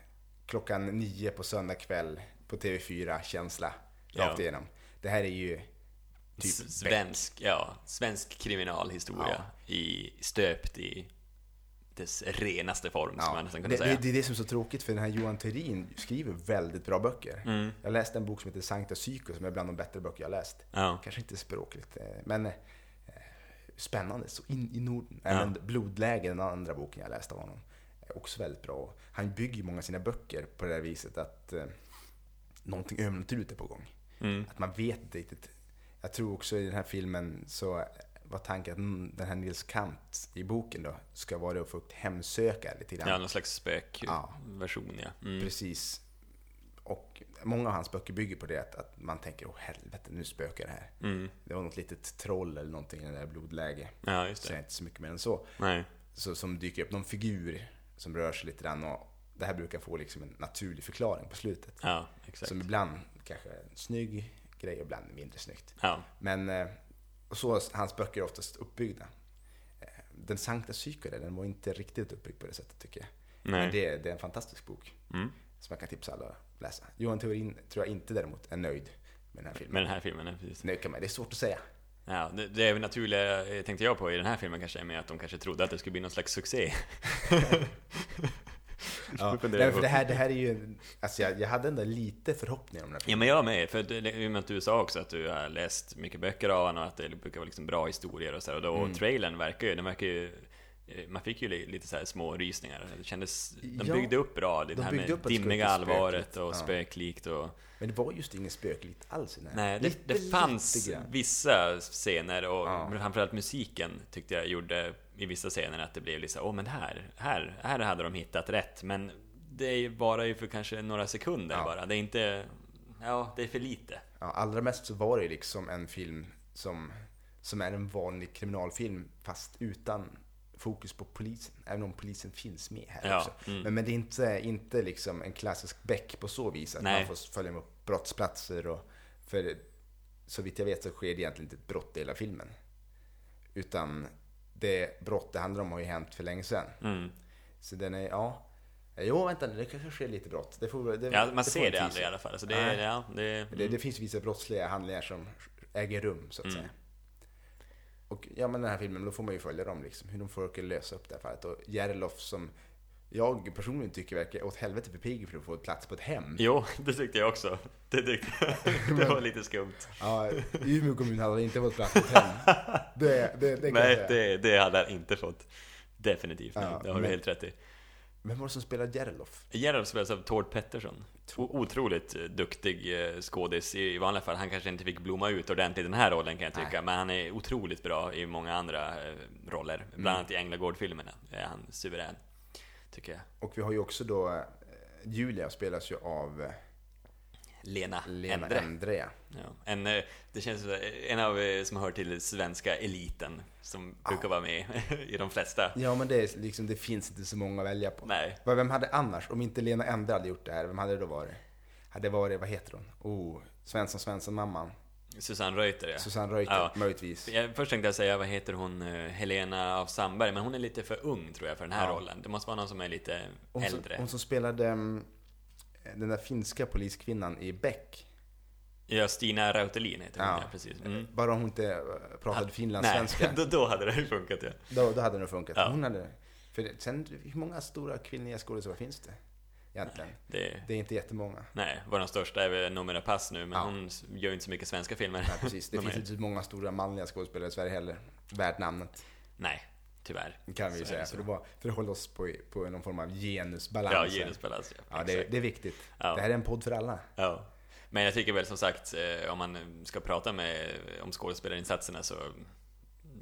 Speaker 2: klockan nio på söndag kväll på TV4-känsla
Speaker 1: Ja.
Speaker 2: rakt igenom. Det här är ju typ
Speaker 1: S- svensk, ja, svensk kriminalhistoria i, stöpt i dess renaste form, som man nästan kunde
Speaker 2: det,
Speaker 1: säga.
Speaker 2: Det, det är det som är så tråkigt för den här Johan Therin skriver väldigt bra böcker.
Speaker 1: Mm.
Speaker 2: Jag läste en bok som heter Sankta Psyko som är bland de bättre böcker jag har läst.
Speaker 1: Ja.
Speaker 2: Kanske inte språkligt, eh, men eh, spännande. Så in i Norden.
Speaker 1: Ja.
Speaker 2: Även Blodläger, den andra boken jag läste av honom, är också väldigt bra. Han bygger ju många av sina böcker på det där viset att eh, någonting övernaturligt är på gång.
Speaker 1: Mm.
Speaker 2: Att man vet inte riktigt. Jag tror också i den här filmen så var tanken att mm, den här Nils Kant i boken då ska vara det att få hemsöka lite grann.
Speaker 1: Ja, någon slags
Speaker 2: Ja.
Speaker 1: spökversion, ja. Mm.
Speaker 2: Precis. Och många av hans böcker bygger på det att, att man tänker åh helvete nu spökar det här. Det var något litet troll eller någonting i det där blodläget.
Speaker 1: Mm. Ja, just
Speaker 2: Så jag
Speaker 1: det.
Speaker 2: är inte så mycket mer än så.
Speaker 1: Nej.
Speaker 2: så. Som dyker upp, någon figur som rör sig lite grann och det här brukar få liksom en naturlig förklaring på slutet.
Speaker 1: Ja, exakt.
Speaker 2: Som ibland kanske är en snygg grej, ibland mindre snyggt.
Speaker 1: Ja.
Speaker 2: Men eh, och så är hans böcker är oftast uppbyggda. Eh, Den Sankta Psykare, den var inte riktigt uppbyggd på det sättet tycker jag.
Speaker 1: Nej.
Speaker 2: Men det, är- det är en fantastisk bok.
Speaker 1: Mm.
Speaker 2: Som jag kan tipsa alla att läsa. Johan Theorin tror jag inte däremot är nöjd med den här filmen.
Speaker 1: Med den här filmen, ja, precis.
Speaker 2: Nöjd kan man, det är svårt att säga.
Speaker 1: Ja, det, det är väl naturliga, eh, tänkte jag på, i den här filmen kanske, är med att de kanske trodde att det skulle bli någon slags succé.
Speaker 2: Ja.
Speaker 1: funderar
Speaker 2: Nej,
Speaker 1: på.
Speaker 2: för det, här, det här är ju, en- alltså jag, jag hade ändå lite förhoppningar om den här
Speaker 1: Ja men jag med, för det, det, i och med att du sa också att du har läst mycket böcker av honom och att det brukar vara liksom bra historier och så här, och då, trailern verkar ju, den verkar ju eh, man fick ju li- lite så här små rysningar. Det kändes, de
Speaker 2: Ja,
Speaker 1: byggde upp bra, det
Speaker 2: de
Speaker 1: här
Speaker 2: byggde
Speaker 1: med
Speaker 2: upp att det skulle
Speaker 1: dimmiga
Speaker 2: bli spökligt.
Speaker 1: allvaret och
Speaker 2: Ja.
Speaker 1: spöklikt och...
Speaker 2: Men det var just inget spökligt alls i den här.
Speaker 1: Nej, det,
Speaker 2: Lite,
Speaker 1: det fanns
Speaker 2: lite grann.
Speaker 1: vissa scener och
Speaker 2: Ja.
Speaker 1: men framförallt musiken tyckte jag gjorde i vissa scener att det blev lite så här, åh men här, här, här hade de hittat rätt. Men det är ju bara ju för kanske några sekunder
Speaker 2: Ja.
Speaker 1: bara. Det är inte, ja det är för lite.
Speaker 2: Ja, allra mest så var det ju liksom en film som, som är en vanlig kriminalfilm fast utan fokus på polisen. Även om polisen finns med här
Speaker 1: Ja, mm.
Speaker 2: också. Men, men det är inte, inte liksom en klassisk bäck på så vis att
Speaker 1: Nej.
Speaker 2: man får följa med upp brottsplatser. Och, för så vitt jag vet så sker det egentligen inte ett brott i hela filmen. Utan det brott det handlar om har ju hänt för länge sedan. Så den är, ja. Jo, vänta nu, det kanske sker lite brott. Det får, det,
Speaker 1: Ja, man
Speaker 2: det får
Speaker 1: ser
Speaker 2: en
Speaker 1: det
Speaker 2: teaser.
Speaker 1: aldrig i alla fall. Alltså det,
Speaker 2: Nej.
Speaker 1: ja, det,
Speaker 2: Det, det finns vissa brottsliga handlingar som äger rum så att
Speaker 1: Mm.
Speaker 2: säga. Och ja, men den här filmen, då får man ju följa dem liksom. Hur de försöker lösa upp det här fallet. Och Gerlof som jag personligen tycker verkar åt helvete för pigg för att få plats på ett hem.
Speaker 1: Jo, det tyckte jag också. Det, tyckte,
Speaker 2: <laughs>
Speaker 1: det var lite skumt.
Speaker 2: Ja, Umeå kommun hade inte fått plats på
Speaker 1: <laughs>
Speaker 2: ett hem. Det, det, det kan jag
Speaker 1: Nej,
Speaker 2: säga.
Speaker 1: det, det hade jag inte fått. Definitivt,
Speaker 2: Ja,
Speaker 1: det har du
Speaker 2: men-
Speaker 1: helt rätt i.
Speaker 2: Vem var det som spelade Gerlof?
Speaker 1: Gerald spelas av Tord Pettersson. O- Otroligt eh, duktig eh, skådis i i vanliga fall. Han kanske inte fick blomma ut ordentligt i den här rollen kan jag tycka, men han är otroligt bra i många andra eh, roller.
Speaker 2: Mm.
Speaker 1: Bland annat i Änglagård-filmerna är han suverän, tycker jag.
Speaker 2: Och vi har ju också då, eh, Julia spelas ju av eh,
Speaker 1: Lena,
Speaker 2: Lena
Speaker 1: Endre.
Speaker 2: Endre. ja.
Speaker 1: Ja, en, eh, det känns som en av eh, som hör till svenska eliten som brukar vara med <laughs> i de flesta.
Speaker 2: Ja, men det, är liksom, det finns inte så många att välja på.
Speaker 1: Nej.
Speaker 2: Vad- Vem hade annars, om inte Lena Endre hade gjort det här, vem hade det då varit? Hade det varit, vad heter hon? Oh, Svensson Svensson-mamman.
Speaker 1: Susanne Reuter ja.
Speaker 2: Susanne Reuter,
Speaker 1: Ja.
Speaker 2: möjligtvis.
Speaker 1: Jag, först tänkte jag säga, vad heter hon, eh, Helena av Sandberg, men hon är lite för ung tror jag för den här rollen. Det måste vara någon som är lite
Speaker 2: Hon som,
Speaker 1: äldre.
Speaker 2: hon som spelade mm, den där finska poliskvinnan i Beck.
Speaker 1: Ja, Stina Rautelin heter hon ja,
Speaker 2: Ja.
Speaker 1: precis. Mm.
Speaker 2: Bara hon inte eh, pratade
Speaker 1: Nej,
Speaker 2: finlandssvenska.
Speaker 1: <laughs> då, då hade det ju funkat ja.
Speaker 2: Då, då hade det nog funkat.
Speaker 1: Ja.
Speaker 2: Hon hade, för det- sen, hur många stora kvinnliga skådespelare finns det egentligen?
Speaker 1: Det,
Speaker 2: Det är inte jättemånga.
Speaker 1: nej, vår största är väl Noomi Pass nu, men
Speaker 2: Ja.
Speaker 1: hon s- gör ju inte så mycket svenska filmer.
Speaker 2: Nej, precis.
Speaker 1: <laughs>
Speaker 2: Det
Speaker 1: De
Speaker 2: finns
Speaker 1: är-
Speaker 2: inte så många stora manliga skådespelare i Sverige heller, värt namnet.
Speaker 1: Nej, tyvärr.
Speaker 2: kan vi
Speaker 1: Så
Speaker 2: ju
Speaker 1: är
Speaker 2: säga.
Speaker 1: det
Speaker 2: För att, bara, för att hålla oss på, på någon form av genusbalans.
Speaker 1: Ja,
Speaker 2: här.
Speaker 1: genusbalans.
Speaker 2: Ja, det,
Speaker 1: exakt.
Speaker 2: det är viktigt.
Speaker 1: Ja.
Speaker 2: Det här är en podd för alla.
Speaker 1: Ja. Men jag tycker väl som sagt, eh, om man ska prata med, om skådespelarinsatserna så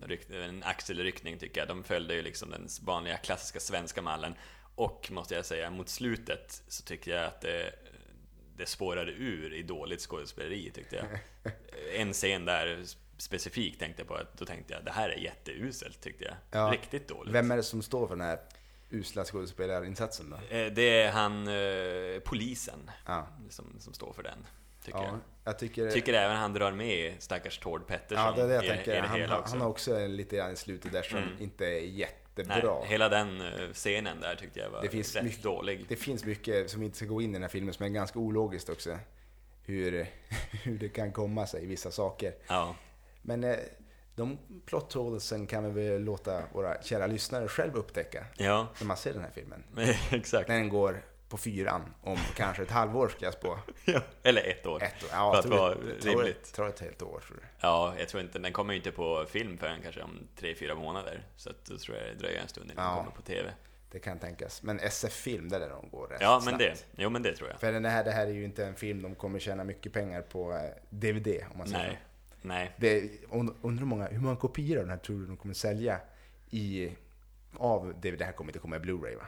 Speaker 1: ryck, en axelryckning tycker jag. De följde ju liksom den vanliga klassiska svenska mallen. Och måste jag säga, mot slutet så tycker jag att det, det spårade ur i dåligt skådespeleri tyckte
Speaker 2: <laughs>
Speaker 1: jag. En scen där specifikt tänkte jag på att då tänkte jag det här är jätteuselt tyckte jag.
Speaker 2: Ja.
Speaker 1: Riktigt dåligt.
Speaker 2: Vem är det som står för den här usla skådespelarinsatsen då?
Speaker 1: Eh, Det är han, eh, polisen,
Speaker 2: Ja.
Speaker 1: som, som står för den. Tycker
Speaker 2: Ja,
Speaker 1: jag.
Speaker 2: jag tycker...
Speaker 1: Tycker även han drar med stackars Tord Pettersson
Speaker 2: ja, det är det jag
Speaker 1: i,
Speaker 2: tänker.
Speaker 1: i det
Speaker 2: han,
Speaker 1: hela
Speaker 2: har-
Speaker 1: också. Mm.
Speaker 2: han har också lite grann i slutet där som inte är
Speaker 1: Nej,
Speaker 2: jättebra.
Speaker 1: hela den eh, scenen där tyckte jag var
Speaker 2: Det finns
Speaker 1: rätt
Speaker 2: mycket-
Speaker 1: dålig.
Speaker 2: Det finns mycket som vi inte ska gå in i den här filmen som är ganska ologiskt också. Hur, <laughs> hur det kan komma sig i vissa saker.
Speaker 1: Ja.
Speaker 2: Men eh, de plot holesen kan vi väl låta våra kära lyssnare själv upptäcka
Speaker 1: ja, <laughs>
Speaker 2: när man ser den här filmen.
Speaker 1: exakt.
Speaker 2: När den går på fyran om kanske ett halvår ska jag spå.
Speaker 1: Ja. Eller ett år.
Speaker 2: Ett år.
Speaker 1: För
Speaker 2: Ja,
Speaker 1: att
Speaker 2: tror
Speaker 1: vara
Speaker 2: det- tror det
Speaker 1: rimligt.
Speaker 2: tror det är ett helt år. Tror jag.
Speaker 1: Ja, jag tror inte, den kommer ju inte på film förrän kanske om tre fyra månader. Så att då tror jag det dröjer en stund innan
Speaker 2: Ja.
Speaker 1: den kommer på TV.
Speaker 2: Det kan tänkas. Men SF-film, där är de går rätt
Speaker 1: Ja, men
Speaker 2: snabbt.
Speaker 1: det, jo men det tror jag.
Speaker 2: För den här, det här är ju inte en film de kommer tjäna mycket pengar på eh, DVD om man säger
Speaker 1: Nej, nej.
Speaker 2: så. Det, und- undrar hur många, hur många kopior av den här tror du de kommer sälja i, av DVD? Det här kommer inte komma i Blu-ray va?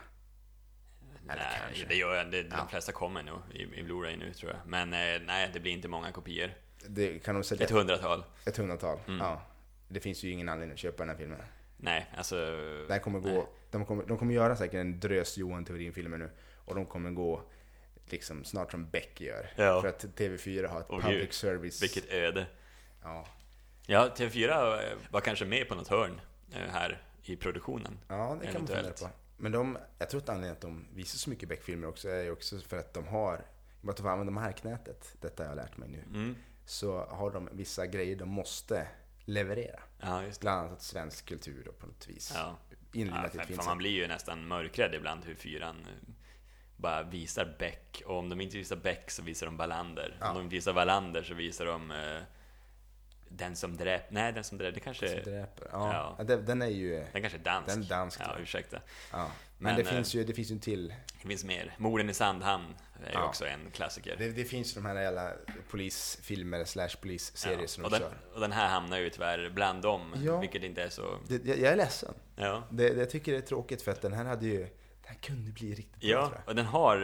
Speaker 2: Eller
Speaker 1: Nej,
Speaker 2: kanske.
Speaker 1: det gör jag. Det, De flesta kommer nog i, i Blu-ray nu tror jag. Men eh, nej, det blir inte många kopior.
Speaker 2: Det kan de sälja
Speaker 1: Ett
Speaker 2: ett,
Speaker 1: hundratal.
Speaker 2: hundratal.
Speaker 1: Mm.
Speaker 2: Ja. Det finns ju ingen anledning att köpa den här filmen.
Speaker 1: Nej, alltså...
Speaker 2: Det här kommer gå,
Speaker 1: Nej.
Speaker 2: de, kommer, de kommer göra säkert en drös Johan Theorin-filmer nu. Och de kommer gå liksom snart som Beck gör.
Speaker 1: Ja.
Speaker 2: För att TV4 har ett
Speaker 1: Åh,
Speaker 2: public
Speaker 1: gud.
Speaker 2: service.
Speaker 1: Vilket öde.
Speaker 2: Ja.
Speaker 1: Ja, TV4 var kanske med på något hörn eh, här i produktionen.
Speaker 2: Ja, det kan man fundera
Speaker 1: Eventuellt.
Speaker 2: på. Men de, jag tror att anledningen att de visar så mycket Beck-filmer också är ju också för att de har, i och med att de får använda marknätet, detta har jag lärt mig nu,
Speaker 1: Mm.
Speaker 2: så har de vissa grejer de måste leverera.
Speaker 1: Ja, just det.
Speaker 2: Bland annat svensk kultur då, på något vis.
Speaker 1: Ja. Ja,
Speaker 2: Inringat i
Speaker 1: fan,
Speaker 2: ett fint
Speaker 1: fan,
Speaker 2: sätt.
Speaker 1: man blir ju nästan mörkrädd ibland hur fyran eh, bara visar Beck. Och om de inte visar Beck så visar de Wallander. Om de inte visar Wallander så visar de eh, Den som dräp... Nej, Den som dräp... Det kanske...
Speaker 2: Så dräper. Ja.
Speaker 1: Ja.
Speaker 2: Ja. den- den är ju...
Speaker 1: Den kanske är dansk.
Speaker 2: Den är dansk,
Speaker 1: Ja,
Speaker 2: tror jag.
Speaker 1: ursäkta.
Speaker 2: Ja. Men,
Speaker 1: Men,
Speaker 2: det,
Speaker 1: eh,
Speaker 2: finns ju, det finns ju en till.
Speaker 1: Det finns mer. Morden i Sandhamn är ju
Speaker 2: Ja.
Speaker 1: också en klassiker.
Speaker 2: Det, det finns ju de här jävla polisfilmer slash polisserier som
Speaker 1: och,
Speaker 2: de
Speaker 1: den,
Speaker 2: kör.
Speaker 1: och den här hamnar ju tyvärr bland dem,
Speaker 2: Ja.
Speaker 1: vilket inte är så...
Speaker 2: Det, jag, jag är ledsen.
Speaker 1: Ja.
Speaker 2: Det, det, jag tycker det är tråkigt för att den här hade ju... Den här kunde bli riktigt bra
Speaker 1: Ja,
Speaker 2: tror jag.
Speaker 1: och den har,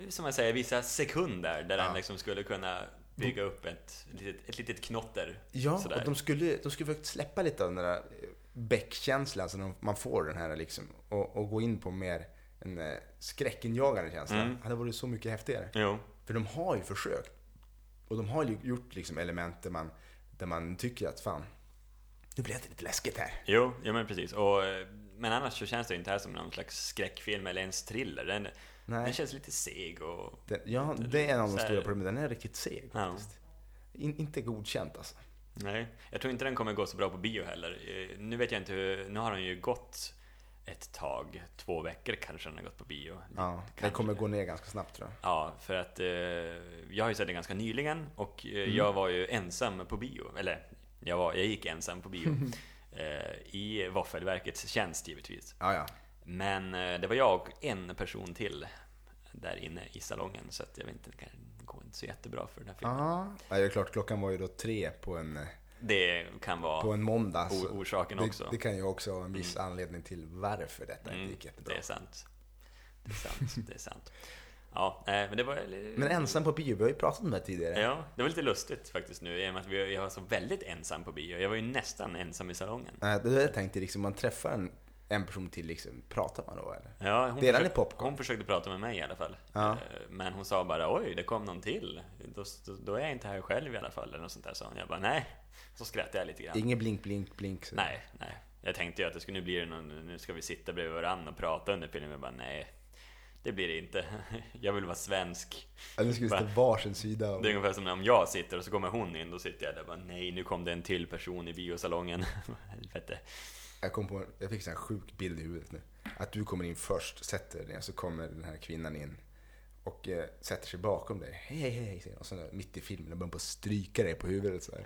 Speaker 1: eh, som jag säger, vissa sekunder där
Speaker 2: Ja.
Speaker 1: den liksom skulle kunna bygga upp ett litet, ett litet knotter.
Speaker 2: Ja,
Speaker 1: sådär.
Speaker 2: och de skulle, de skulle faktiskt släppa lite av den där eh, bäckkänslan som de- man får den här liksom. Och, och gå in på mer en eh, skräckinjagande känsla.
Speaker 1: Mm.
Speaker 2: Det hade varit så mycket häftigare.
Speaker 1: Jo,
Speaker 2: För de har ju försökt. Och de har ju gjort liksom element där man, där man tycker att fan, nu blev det lite läskigt här.
Speaker 1: jo, ja, men precis. Och, eh, men annars så känns det ju inte här som någon slags skräckfilm eller ens thriller. Den,
Speaker 2: Nej.
Speaker 1: den känns lite seg och...
Speaker 2: Den, ja, det är en av de
Speaker 1: Så här-
Speaker 2: stora problemen. Den är riktigt seg
Speaker 1: Ja.
Speaker 2: faktiskt. In, inte godkänt alltså.
Speaker 1: Nej, jag tror inte den kommer gå så bra på bio heller. Eh, Nu vet jag inte hur... Nu har den ju gått ett tag. Två veckor kanske den har gått på bio.
Speaker 2: Ja, den
Speaker 1: Kanske.
Speaker 2: kommer gå ner ganska snabbt tror jag.
Speaker 1: Ja, för att eh, jag har ju sett den ganska nyligen och eh,
Speaker 2: Mm.
Speaker 1: jag var ju ensam på bio. Eller, jag, var, jag gick ensam på
Speaker 2: <laughs>
Speaker 1: bio. eh, I Våffelverkets tjänst givetvis.
Speaker 2: Ja, ja.
Speaker 1: Men eh, det var jag och en person till där inne i salongen. Så att jag vet inte, det kanske går inte så jättebra för den här filmen.
Speaker 2: Ja, det är klart. Klockan var ju då tre på en... eh,
Speaker 1: Det kan vara
Speaker 2: på en måndag.
Speaker 1: o-
Speaker 2: så
Speaker 1: orsaken
Speaker 2: det,
Speaker 1: också. Mm.
Speaker 2: Det kan ju också vara en viss anledning till varför detta inte gick jättebra.
Speaker 1: Det är sant. Det är sant, det är sant. Ja, eh, men det var...
Speaker 2: Men ensam på bio, vi har ju pratat om det här tidigare.
Speaker 1: Ja, det var lite lustigt faktiskt nu i och med att vi- jag var så väldigt ensam på bio. Jag var ju nästan ensam i salongen.
Speaker 2: Nej, Det har jag tänkt liksom, man träffar en, en person till, liksom, pratar man då eller?
Speaker 1: Ja, hon,
Speaker 2: Delar ni
Speaker 1: försökte,
Speaker 2: popcorn?
Speaker 1: hon försökte prata med mig i alla fall.
Speaker 2: Ja.
Speaker 1: Eh, Men hon sa bara oj, det kom någon till. Då, då, då är jag inte här själv i alla fall. Eller något sånt där sa hon. Jag bara nej. Så skrattade jag lite grann.
Speaker 2: Ingen blink, blink, blink. Så.
Speaker 1: Nej, nej. Jag tänkte ju att det skulle, nu blir det någon, nu ska vi sitta bredvid varandra och prata under filmen. Jag bara nej. Det blir det inte. <laughs> Jag vill vara svensk.
Speaker 2: Eller skulle vi stå varsin sida och...
Speaker 1: Det är ungefär som när om jag sitter och så kommer hon in, då sitter jag där och bara nej, nu kom det en till person i biosalongen. <laughs> Helvete.
Speaker 2: Jag, kom på, jag fick en sån här sjuk bild i huvudet nu. Att du kommer in först, sätter dig ner, så kommer den här kvinnan in och eh, sätter sig bakom dig. Hej, hej, hej, säger hon. Och så där, mitt i filmen och börjar på att stryka dig på huvudet
Speaker 1: <laughs>
Speaker 2: så här.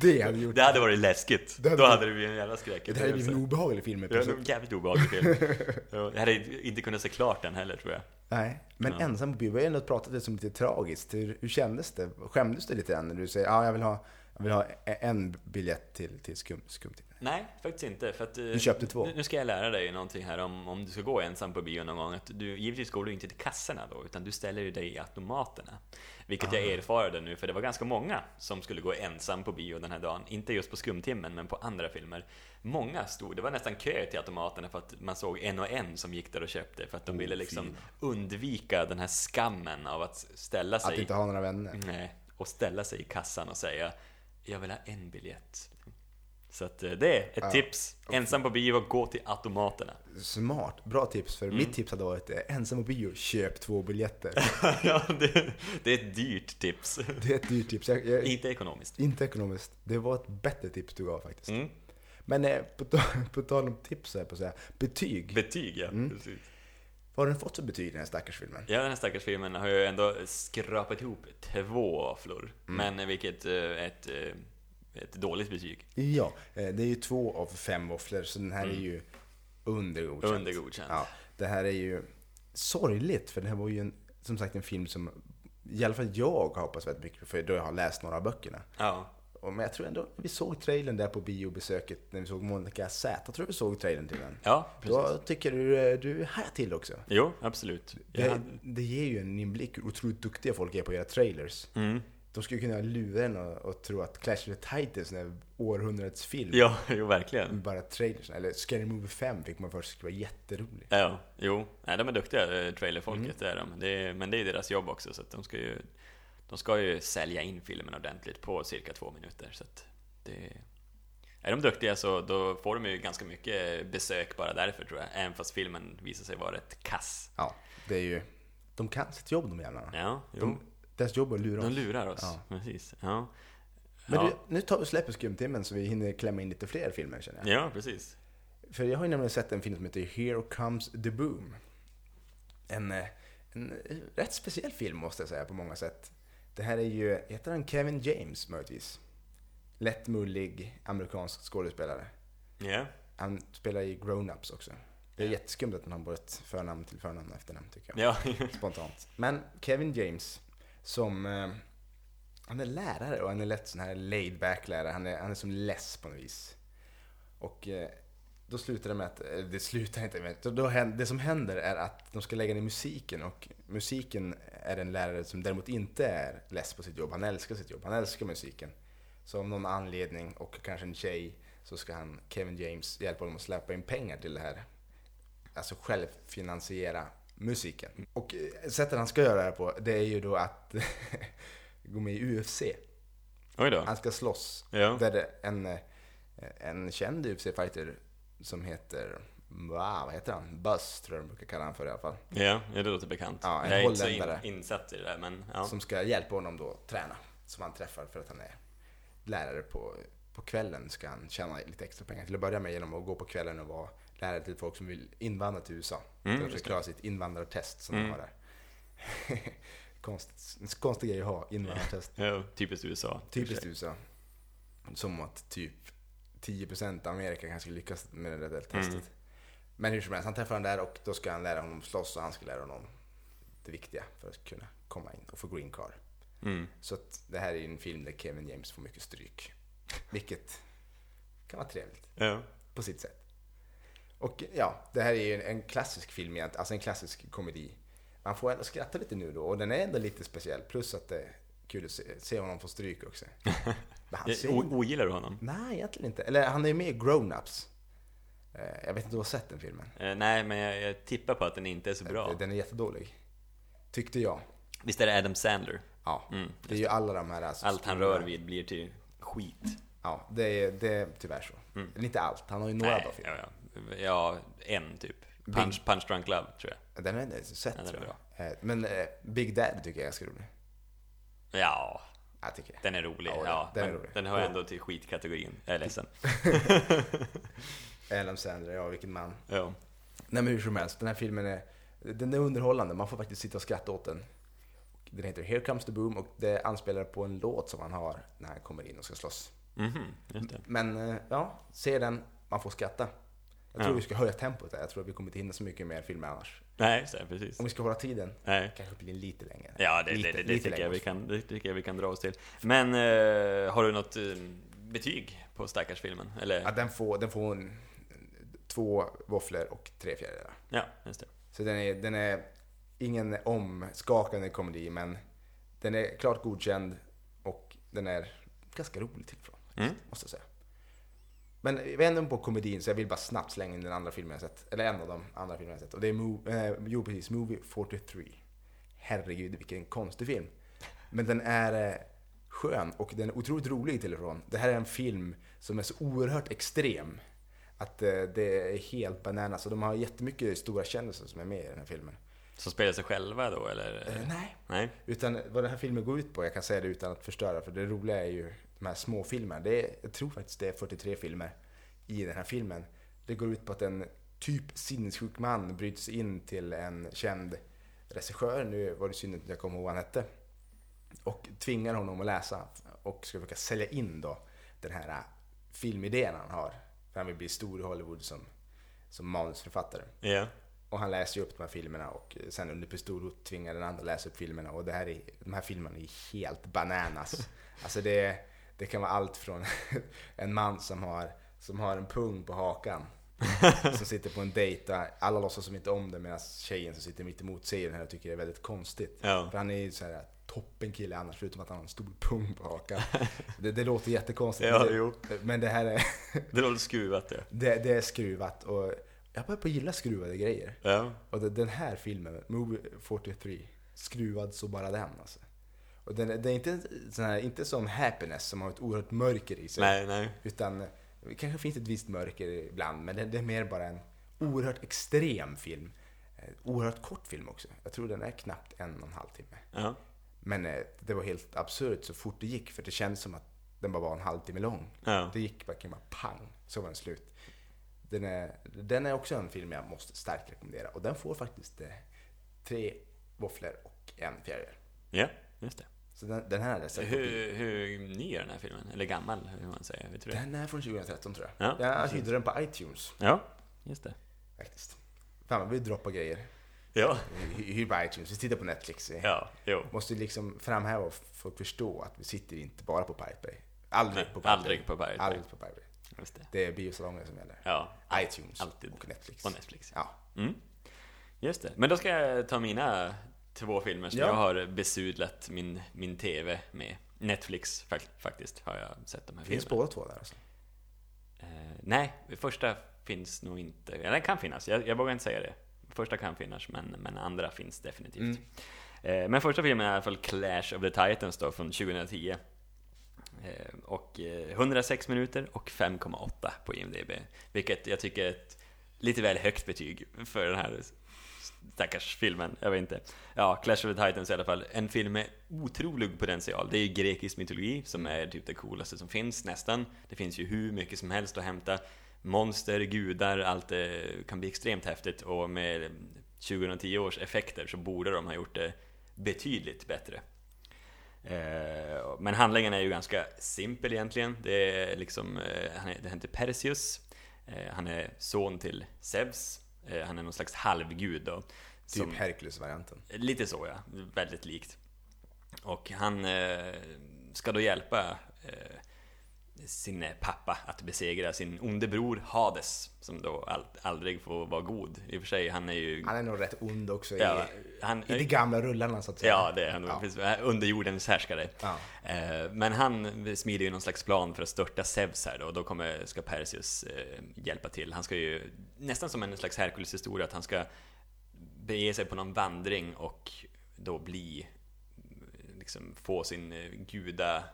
Speaker 2: Det hade gjort...
Speaker 1: Det hade varit läskigt.
Speaker 2: Det hade
Speaker 1: Då
Speaker 2: varit-
Speaker 1: hade det blivit en jävla
Speaker 2: Det hade blivit en
Speaker 1: skräckupplevelse.
Speaker 2: obehaglig film. i
Speaker 1: Det var
Speaker 2: princip.
Speaker 1: en jävligt obehaglig film. Ja, Jag hade inte kunnat se klart den heller tror jag.
Speaker 2: Nej, men ensam på bio, vi har ju ändå pratat det som lite tragiskt. Hur, hur kändes det? Skämdes du lite grann när du säger ja, jag vill ha Jag vill ha e-, en biljett till, till skum, skumtid.
Speaker 1: Nej, faktiskt inte. För att, eh,
Speaker 2: Du köpte två.
Speaker 1: Nu, nu ska jag lära dig någonting här om, om du ska gå ensam på bio någon gång. Att du, givetvis går du inte till kassorna då, utan du ställer ju dig i automaterna. Vilket
Speaker 2: Ah.
Speaker 1: jag erfarade nu, för det var ganska många som skulle gå ensam på bio den här dagen. Inte just på skumtimmen, men på andra filmer. Många stod, det var nästan kö till automaterna för att man såg en och en som gick där och köpte. För att de ville liksom undvika den här skammen av att ställa sig
Speaker 2: Att inte ha några vänner.
Speaker 1: Nej, och ställa sig i kassan och säga Jag vill ha en biljett. Så att eh, det är ett
Speaker 2: Ja.
Speaker 1: tips. Ensam på bio, gå till
Speaker 2: <laughs>
Speaker 1: automaterna.
Speaker 2: Smart, bra tips.
Speaker 1: Mm.
Speaker 2: För mitt tips hade varit eh, ensam på bio, köp två biljetter.
Speaker 1: ja, det, det är ett dyrt tips.
Speaker 2: Det är ett dyrt tips. Jag, jag,
Speaker 1: Inte ekonomiskt.
Speaker 2: inte ekonomiskt. Det var ett bättre tips du gav faktiskt.
Speaker 1: Mm.
Speaker 2: Men eh, på, ta- <laughs> på tal om tips så här på att säga, betyg.
Speaker 1: Betyg, ja.
Speaker 2: Mm.
Speaker 1: Precis.
Speaker 2: Vad har den fått för betyg den här stackars filmen?
Speaker 1: Ja, den här stackars filmen har ju ändå skrapat ihop två våfflor.
Speaker 2: Mm.
Speaker 1: Men eh, vilket eh, ett, eh, ett dåligt betyg.
Speaker 2: Ja, eh, det är ju två av fem våfflor så den här är ju under godkänt.
Speaker 1: Under godkänt.
Speaker 2: Ja, det här är ju sorgligt för det här var ju en, som sagt en film som i alla fall jag har hoppats väldigt mycket på för då jag har läst några av böckerna.
Speaker 1: Ja.
Speaker 2: Och, men jag tror ändå vi såg trailern där på biobesöket när vi såg Monica Z. Jag tror vi såg trailern till den.
Speaker 1: Ja, precis.
Speaker 2: Då tycker du eh, du här till också.
Speaker 1: Jo, absolut. Jag
Speaker 2: Det,
Speaker 1: hade-
Speaker 2: det ger ju en inblick hur otroligt duktiga folk är på att göra trailers.
Speaker 1: Mm.
Speaker 2: De skulle kunna lura en och, och tro att Clash of the Titans är århundradets film.
Speaker 1: Ja, <laughs> jo verkligen.
Speaker 2: Med bara trailers. Eller Scary Movie 5 fick man först skulle vara jätterolig.
Speaker 1: Ja, jo. Nej, de är duktiga, eh, trailerfolket,
Speaker 2: Mm.
Speaker 1: det är de. Det är, men det är deras jobb också, så att de ska ju... De ska ju sälja in filmen ordentligt på cirka två minuter, så att det... Är de duktiga så då får de ju ganska mycket besök bara därför tror jag, även fast filmen visar sig vara rätt kass.
Speaker 2: Ja, det är ju... De kan sitt jobb de jävlarna.
Speaker 1: Ja, jo.
Speaker 2: De, deras jobb är att lura
Speaker 1: De
Speaker 2: oss.
Speaker 1: lurar oss,
Speaker 2: Ja.
Speaker 1: precis. Ja.
Speaker 2: Men
Speaker 1: ja.
Speaker 2: du, nu tar vi släpper skumtimmen så vi hinner klämma in lite fler filmer känner jag.
Speaker 1: ja, precis.
Speaker 2: För jag har ju nämligen sett en film som heter Here Comes the Boom. En, eh, en eh, rätt speciell film måste jag säga på många sätt. Det här är ju, heter han Kevin James möjligtvis? Lättmullig amerikansk skådespelare.
Speaker 1: Ja.
Speaker 2: Han spelar i Grown Ups också. Det är jätteskumt att man har både ett förnamn till förnamn och efternamn tycker jag.
Speaker 1: Ja. <laughs>
Speaker 2: Spontant. Men Kevin James som... Eh, han är lärare och han är lätt sån här laid back lärare. Han är, han är som less på något vis. Och eh, då slutar det med att... eh, Det slutar inte med... Då, då händer, det som händer är att de ska lägga ner musiken och musiken är en lärare som däremot inte är less på sitt jobb. Han älskar sitt jobb. Han älskar musiken. Så av någon anledning och kanske en tjej så ska han, Kevin James, hjälpa honom att släppa in pengar till det här alltså självfinansiera musiken. Och eh, sättet han ska göra det här på, det är ju då att <laughs> gå med i UFC.
Speaker 1: Oj då.
Speaker 2: Han ska slåss.
Speaker 1: Ja.
Speaker 2: Där det en, eh, en känd UFC-fighter som heter, wow, vad heter han? Buzz tror jag de brukar kalla han för i alla fall.
Speaker 1: Ja, ja, det låter bekant.
Speaker 2: Ja, en
Speaker 1: jag är inte så in,
Speaker 2: holländare.
Speaker 1: insatt i det där, men ja.
Speaker 2: Som ska hjälpa honom då träna. Som han träffar för att han är lärare på, på kvällen. Ska han tjäna lite extra pengar till att börja med genom att gå på kvällen och vara lärare till folk som vill invandra till USA.
Speaker 1: Mm,
Speaker 2: för att
Speaker 1: just Mm.
Speaker 2: klara sitt invandrartest som de har där. <laughs> Konst, en konstig grej att ha, invandrartest.
Speaker 1: ja typiskt USA.
Speaker 2: Typiskt USA. Som att typ 10% av Amerika kanske lyckas med det där testet.
Speaker 1: Mm.
Speaker 2: Men hur som helst, han träffar den där och då ska han lära honom slåss och han ska lära honom det viktiga för att kunna komma in och få green card.
Speaker 1: Mm.
Speaker 2: Så att det här är ju en film där Kevin James får mycket stryk. Vilket kan vara trevligt
Speaker 1: Ja.
Speaker 2: på sitt sätt. Och ja, det här är ju en, en klassisk film egentligen, alltså en klassisk komedi. Man får ändå skratta lite nu då och den är ändå lite speciell. Plus att det är kul att se, se honom få stryk
Speaker 1: <laughs>
Speaker 2: också. Men han ser,
Speaker 1: O- ogillar du honom?
Speaker 2: nej, egentligen inte. Eller han är ju med i Grown-Ups. Eh, Jag vet inte om du har sett den filmen?
Speaker 1: Eh, nej, men jag, jag tippar på att den inte är så bra.
Speaker 2: Den är jättedålig. Tyckte jag.
Speaker 1: Visst är det Adam Sandler?
Speaker 2: Ja, det är ju alla de här... Alltså,
Speaker 1: Mm, Allt han rör vid blir till skit.
Speaker 2: Ja, det är, det är tyvärr så.
Speaker 1: Mm.
Speaker 2: Eller inte allt, han har ju några bra filmer.
Speaker 1: ja, ja. ja, en typ. Punch, Punch Drunk Love, tror jag.
Speaker 2: Den har jag inte sett
Speaker 1: Ja, den är
Speaker 2: tror jag. Eh, Men eh, Big Dad tycker jag är ganska rolig.
Speaker 1: Ja,
Speaker 2: Jag tycker det.
Speaker 1: den är rolig.
Speaker 2: Ja,
Speaker 1: Ja,
Speaker 2: den- den är
Speaker 1: men
Speaker 2: rolig.
Speaker 1: den hör ändå till skitkategorin. Jag är ledsen.
Speaker 2: Adam Sandler, ja vilken man.
Speaker 1: Ja.
Speaker 2: Nej men hur som helst, den här filmen är, den är underhållande. Man får faktiskt sitta och skratta åt den. Den heter Here Comes the Boom och det anspelar på en låt som han har när han kommer in och ska slåss.
Speaker 1: Mhm, just det.
Speaker 2: Men eh, ja, se den, man får skratta. Jag tror
Speaker 1: Ja.
Speaker 2: vi ska höja tempot där. Jag tror att vi kommer inte hinna så mycket mer filmer annars.
Speaker 1: Nej, så, precis.
Speaker 2: Om vi ska hålla tiden,
Speaker 1: Nej.
Speaker 2: kanske blir lite längre.
Speaker 1: Ja, det,
Speaker 2: lite,
Speaker 1: det, det, det,
Speaker 2: lite
Speaker 1: tycker jag
Speaker 2: längre.
Speaker 1: vi kan, det tycker jag vi kan dra oss till. Men eh, har du något eh, betyg på stackarsfilmen? Eller?
Speaker 2: Ja, den får, den får en, två våfflor och tre fjärilar.
Speaker 1: Ja, just det.
Speaker 2: Så den är, den är ingen omskakande komedi, men den är klart godkänd och den är ganska rolig till och från, faktiskt,
Speaker 1: Mm.
Speaker 2: måste jag säga. Men vi är ändå på komedin, så jag vill bara snabbt slänga in den andra filmen jag sett. Eller en av de andra filmerna jag sett. Och det är Mo- eh, jo, precis, Movie 43. Herregud, vilken konstig film. Men den är eh, skön och den är otroligt rolig till och från. Det här är en film som är så oerhört extrem. Att eh, det är helt bananas. Och de har jättemycket stora kändisar som är med i den här filmen.
Speaker 1: Som spelar sig själva då, eller?
Speaker 2: Eh, nej,
Speaker 1: Nej?
Speaker 2: utan vad den här filmen går ut på, jag kan säga det utan att förstöra, för det roliga är ju de här småfilmerna. Det är, jag tror faktiskt det är 43 filmer i den här filmen. Det går ut på att en typ sinnessjuk man bryter sig in till en känd regissör, nu var det synd att jag kommer ihåg vad han hette, och tvingar honom att läsa och ska försöka sälja in då den här äh, filmidén han har. För han vill bli stor i Hollywood som, som manusförfattare.
Speaker 1: Ja.
Speaker 2: Och han läser ju upp de här filmerna och sen under pistolhot tvingar den andra läsa upp filmerna. Och det här är, de här filmerna är
Speaker 1: <laughs>
Speaker 2: helt bananas. Alltså det, det kan vara allt från <laughs> en man som har, som har en pung
Speaker 1: <laughs>
Speaker 2: på hakan. Som sitter på en dejt där alla låtsas som inte om det medan tjejen som sitter mitt emot säger det här och tycker det är väldigt konstigt.
Speaker 1: Ja.
Speaker 2: För han är ju så här toppen kille annars förutom att han har en stor pung
Speaker 1: <laughs>
Speaker 2: på hakan. Det, det låter jättekonstigt.
Speaker 1: Ja,
Speaker 2: men, det,
Speaker 1: jo.
Speaker 2: men det här är,
Speaker 1: Det låter skruvat det.
Speaker 2: det, det är skruvat och jag börjar på att gilla skruvade grejer.
Speaker 1: Ja.
Speaker 2: Och den- den här filmen, Movie 43, skruvad så bara den alltså. Och den, den är inte, en sån här, inte som Happiness som har ett oerhört mörker i sig.
Speaker 1: Nej, nej.
Speaker 2: Utan, det kanske finns ett visst mörker ibland, men det, det är mer bara en oerhört extrem film. Eh, Oerhört kort film också. Jag tror den är knappt en och en halv timme.
Speaker 1: Ja.
Speaker 2: Men eh, det var helt absurt så fort det gick, för det kändes som att den bara var en halvtimme lång.
Speaker 1: Ja.
Speaker 2: Det gick verkligen bara pang, så var den slut. Den är, den är också en film jag måste starkt rekommendera och den får faktiskt eh, tre våfflor och en fjäril.
Speaker 1: ja, just det.
Speaker 2: Så den, den här är säkert på bio.
Speaker 1: Hur, hur ny är den här filmen? Eller gammal, hur man säger? Vet du det?
Speaker 2: Den är från 2013 tror jag.
Speaker 1: Ja,
Speaker 2: jag hyrde den på iTunes
Speaker 1: Ja, just det.
Speaker 2: faktiskt. Fan vad vi droppar grejer.
Speaker 1: Ja.
Speaker 2: Hy- Hyr på iTunes, vi tittar på Netflix. eh.
Speaker 1: Ja, jo.
Speaker 2: Måste liksom framhäva och folk förstå att vi sitter inte bara på Pirate Bay. Aldrig
Speaker 1: Nej,
Speaker 2: på Pirate
Speaker 1: aldrig på Pirate Bay.
Speaker 2: Aldrig på Pirate Bay.
Speaker 1: Just det.
Speaker 2: Det är biosalonger som gäller.
Speaker 1: Ja.
Speaker 2: iTunes
Speaker 1: Alltid.
Speaker 2: och Netflix.
Speaker 1: Och Netflix.
Speaker 2: Ja.
Speaker 1: Mm. Just det. Men då ska jag ta mina två filmer som
Speaker 2: Ja.
Speaker 1: jag har besudlat min, min TV med. Netflix fak- faktiskt har jag sett de här
Speaker 2: Finns
Speaker 1: filmerna.
Speaker 2: båda två där alltså?
Speaker 1: Eh, nej, första finns nog inte. Eller den kan finnas, jag, jag vågar inte säga det. Första kan finnas, men, men andra finns definitivt. Eh, men första filmen är i alla fall Clash of the Titans då, från 2010. Eh, och eh, 106 minuter och 5,8 på IMDB. Vilket jag tycker är ett lite väl högt betyg för den här stackars filmen. Jag vet inte. Ja, Clash of the Titans i alla fall. En film med otrolig potential. Det är ju grekisk mytologi som är typ det coolaste som finns, nästan. Det finns ju hur mycket som helst att hämta. Monster, gudar, allt det kan bli extremt häftigt och med 2010 års effekter så borde de ha gjort det betydligt bättre. Eh, Men handlingen är ju ganska simpel egentligen. Det är liksom, eh, han är, det heter Perseus. Eh, Han är son till Zeus. Eh, Han är någon slags halvgud då.
Speaker 2: Typ
Speaker 1: som-
Speaker 2: Hercules-varianten.
Speaker 1: Lite så ja, väldigt likt. Och han eh, ska då hjälpa eh, sin pappa att besegra sin onde bror Hades, som då all, aldrig får vara god. I och för sig, han är ju...
Speaker 2: Han är nog rätt ond också
Speaker 1: Ja,
Speaker 2: i,
Speaker 1: han,
Speaker 2: i de gamla rullarna så att säga.
Speaker 1: Ja, det är han.
Speaker 2: Ja.
Speaker 1: Precis, Underjordens härskare.
Speaker 2: Ja.
Speaker 1: Eh, Men han smider ju någon slags plan för att störta Zeus här då, och då kommer, ska Perseus eh, hjälpa till. Han ska ju, nästan som en slags Herkules-historia, att han ska bege sig på någon vandring och då bli, liksom få sin eh, guda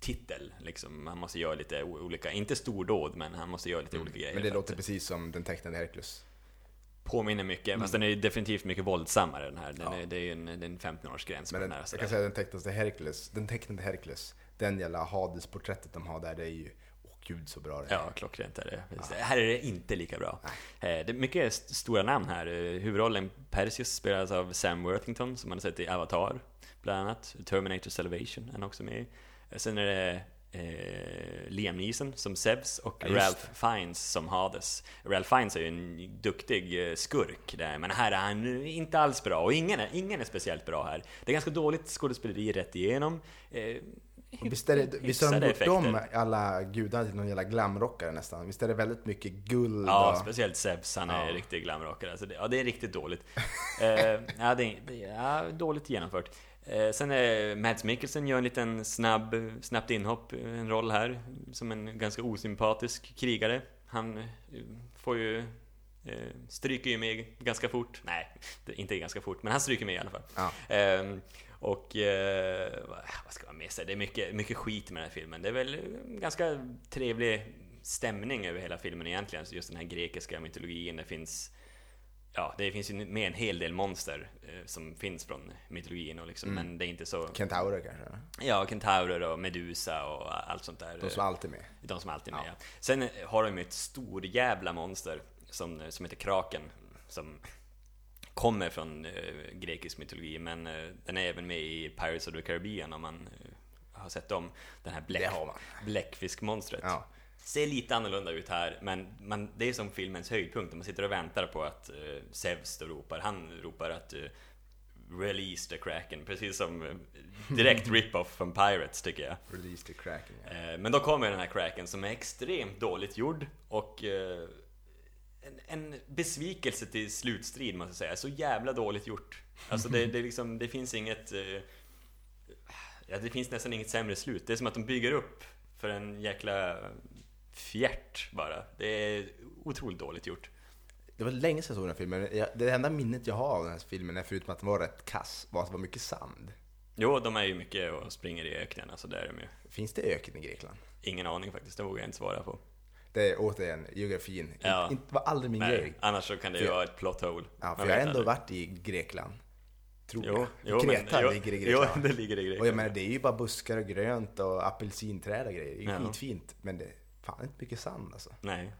Speaker 1: titel. Liksom, han måste göra lite o- olika, inte stordåd, men han måste göra lite olika grejer.
Speaker 2: Mm. Men
Speaker 1: för
Speaker 2: det
Speaker 1: att-
Speaker 2: låter precis som den tecknade Hercules.
Speaker 1: Påminner mycket, fast
Speaker 2: Mm.
Speaker 1: den är ju definitivt mycket våldsammare den här. Den är, det är ju en, det är en 15-årsgräns på
Speaker 2: Men
Speaker 1: den
Speaker 2: den,
Speaker 1: här.
Speaker 2: jag
Speaker 1: sådär.
Speaker 2: kan säga den tecknade Hercules, den tecknade Hercules, den jävla Hades-porträttet de har där, det är ju, åh gud så bra det är.
Speaker 1: Ja, klockrent är det. Här är det inte lika bra. Eh, Det är mycket st- stora namn här. Eh, Huvudrollen Perseus spelas av Sam Worthington, som man har sett i Avatar, bland annat. Terminator Salvation är han också med i. Eh, Sen är det eh, Liam Neeson som Sebs och
Speaker 2: Ja, just
Speaker 1: Ralph Fiennes som Hades. Ralph Fiennes är ju en duktig eh, skurk där, men här är han inte alls bra och ingen är, ingen är speciellt bra här. Det är ganska dåligt skådespeleri rätt igenom. Eh,
Speaker 2: Visst, är det, visst har de
Speaker 1: hyfsade
Speaker 2: gjort om
Speaker 1: effekter.
Speaker 2: alla gudar till någon jävla glamrockare nästan? Visst är det väldigt mycket guld?
Speaker 1: Ja,
Speaker 2: och...
Speaker 1: speciellt Sebs, han är
Speaker 2: Ja.
Speaker 1: riktig glamrockare. Alltså det, ja, det är riktigt dåligt. Eh, <laughs> ja, det, är- det, är- ja, dåligt genomfört. Eh, sen är Mads Mikkelsen gör en liten snabb, snabbt inhopp, eh, en roll här, som en ganska osympatisk krigare. Han eh, får ju, eh, stryker ju med ganska fort. Nej, det- inte ganska fort, men han stryker med i alla fall.
Speaker 2: Ja.
Speaker 1: Ehm, och eh, vad- vad ska man mer säga? Det är mycket, mycket skit med den här filmen. Det är väl en ganska trevlig stämning över hela filmen egentligen. Så just den här grekiska mytologin. Det finns, ja, det finns ju med en hel del monster eh, som finns från mytologin. Och liksom, Men det är inte så...
Speaker 2: Kentaurer kanske?
Speaker 1: Ja, kentaurer och Medusa och allt sånt där.
Speaker 2: De slår alltid med.
Speaker 1: De som alltid är med, ja. Sen har de ju ett stor jävla monster som, som heter Kraken. Som kommer från eh, grekisk mytologi, men eh, den är även med i Pirates of the Caribbean om man eh, har sett dem. Den här bläck,
Speaker 2: Det har man.
Speaker 1: bläckfiskmonstret.
Speaker 2: Ja.
Speaker 1: Ser lite annorlunda ut här, men man, det är som filmens höjdpunkt. Man sitter och väntar på att eh, Zeus då ropar. Han ropar att eh, “Release the Kraken”, precis som eh,
Speaker 2: <laughs>
Speaker 1: direkt rip-off från Pirates tycker jag.
Speaker 2: Release the Kraken. ja.
Speaker 1: Eh, Men då kommer den här cracken som är extremt dåligt gjord och eh, en, en besvikelse till slutstrid måste jag säga. Så jävla dåligt gjort. Alltså det, det, är liksom, det finns inget... eh, Ja, det finns nästan inget sämre slut. Det är som att de bygger upp för en jäkla fjärt bara. Det är otroligt dåligt gjort.
Speaker 2: Det var länge sedan jag såg den här filmen. Jag- Det enda minnet jag har av den här filmen, är förutom att den var rätt kass, var att det var mycket sand.
Speaker 1: Jo, de är ju mycket och springer i öknen, alltså det är de ju.
Speaker 2: Finns det öken i Grekland?
Speaker 1: Ingen aning faktiskt, det vågar jag inte svara på.
Speaker 2: Det är återigen geografin. Inte-
Speaker 1: Ja.
Speaker 2: Inte var aldrig min
Speaker 1: Nej,
Speaker 2: grej.
Speaker 1: annars så kan det ju
Speaker 2: För-
Speaker 1: vara ett plot hole.
Speaker 2: Ja, för
Speaker 1: Man
Speaker 2: jag har
Speaker 1: vet
Speaker 2: ändå
Speaker 1: aldrig.
Speaker 2: varit i Grekland. Tror
Speaker 1: Jo, jo,
Speaker 2: jag. Kreta
Speaker 1: men, jo,
Speaker 2: ligger i
Speaker 1: Jo, <laughs>
Speaker 2: Grekland.
Speaker 1: det ligger i Grekland.
Speaker 2: Och jag menar, det är ju bara buskar och grönt och apelsinträd och grejer. Det är ju
Speaker 1: Ja.
Speaker 2: skitfint. Men det är fan inte mycket sand alltså.
Speaker 1: Nej.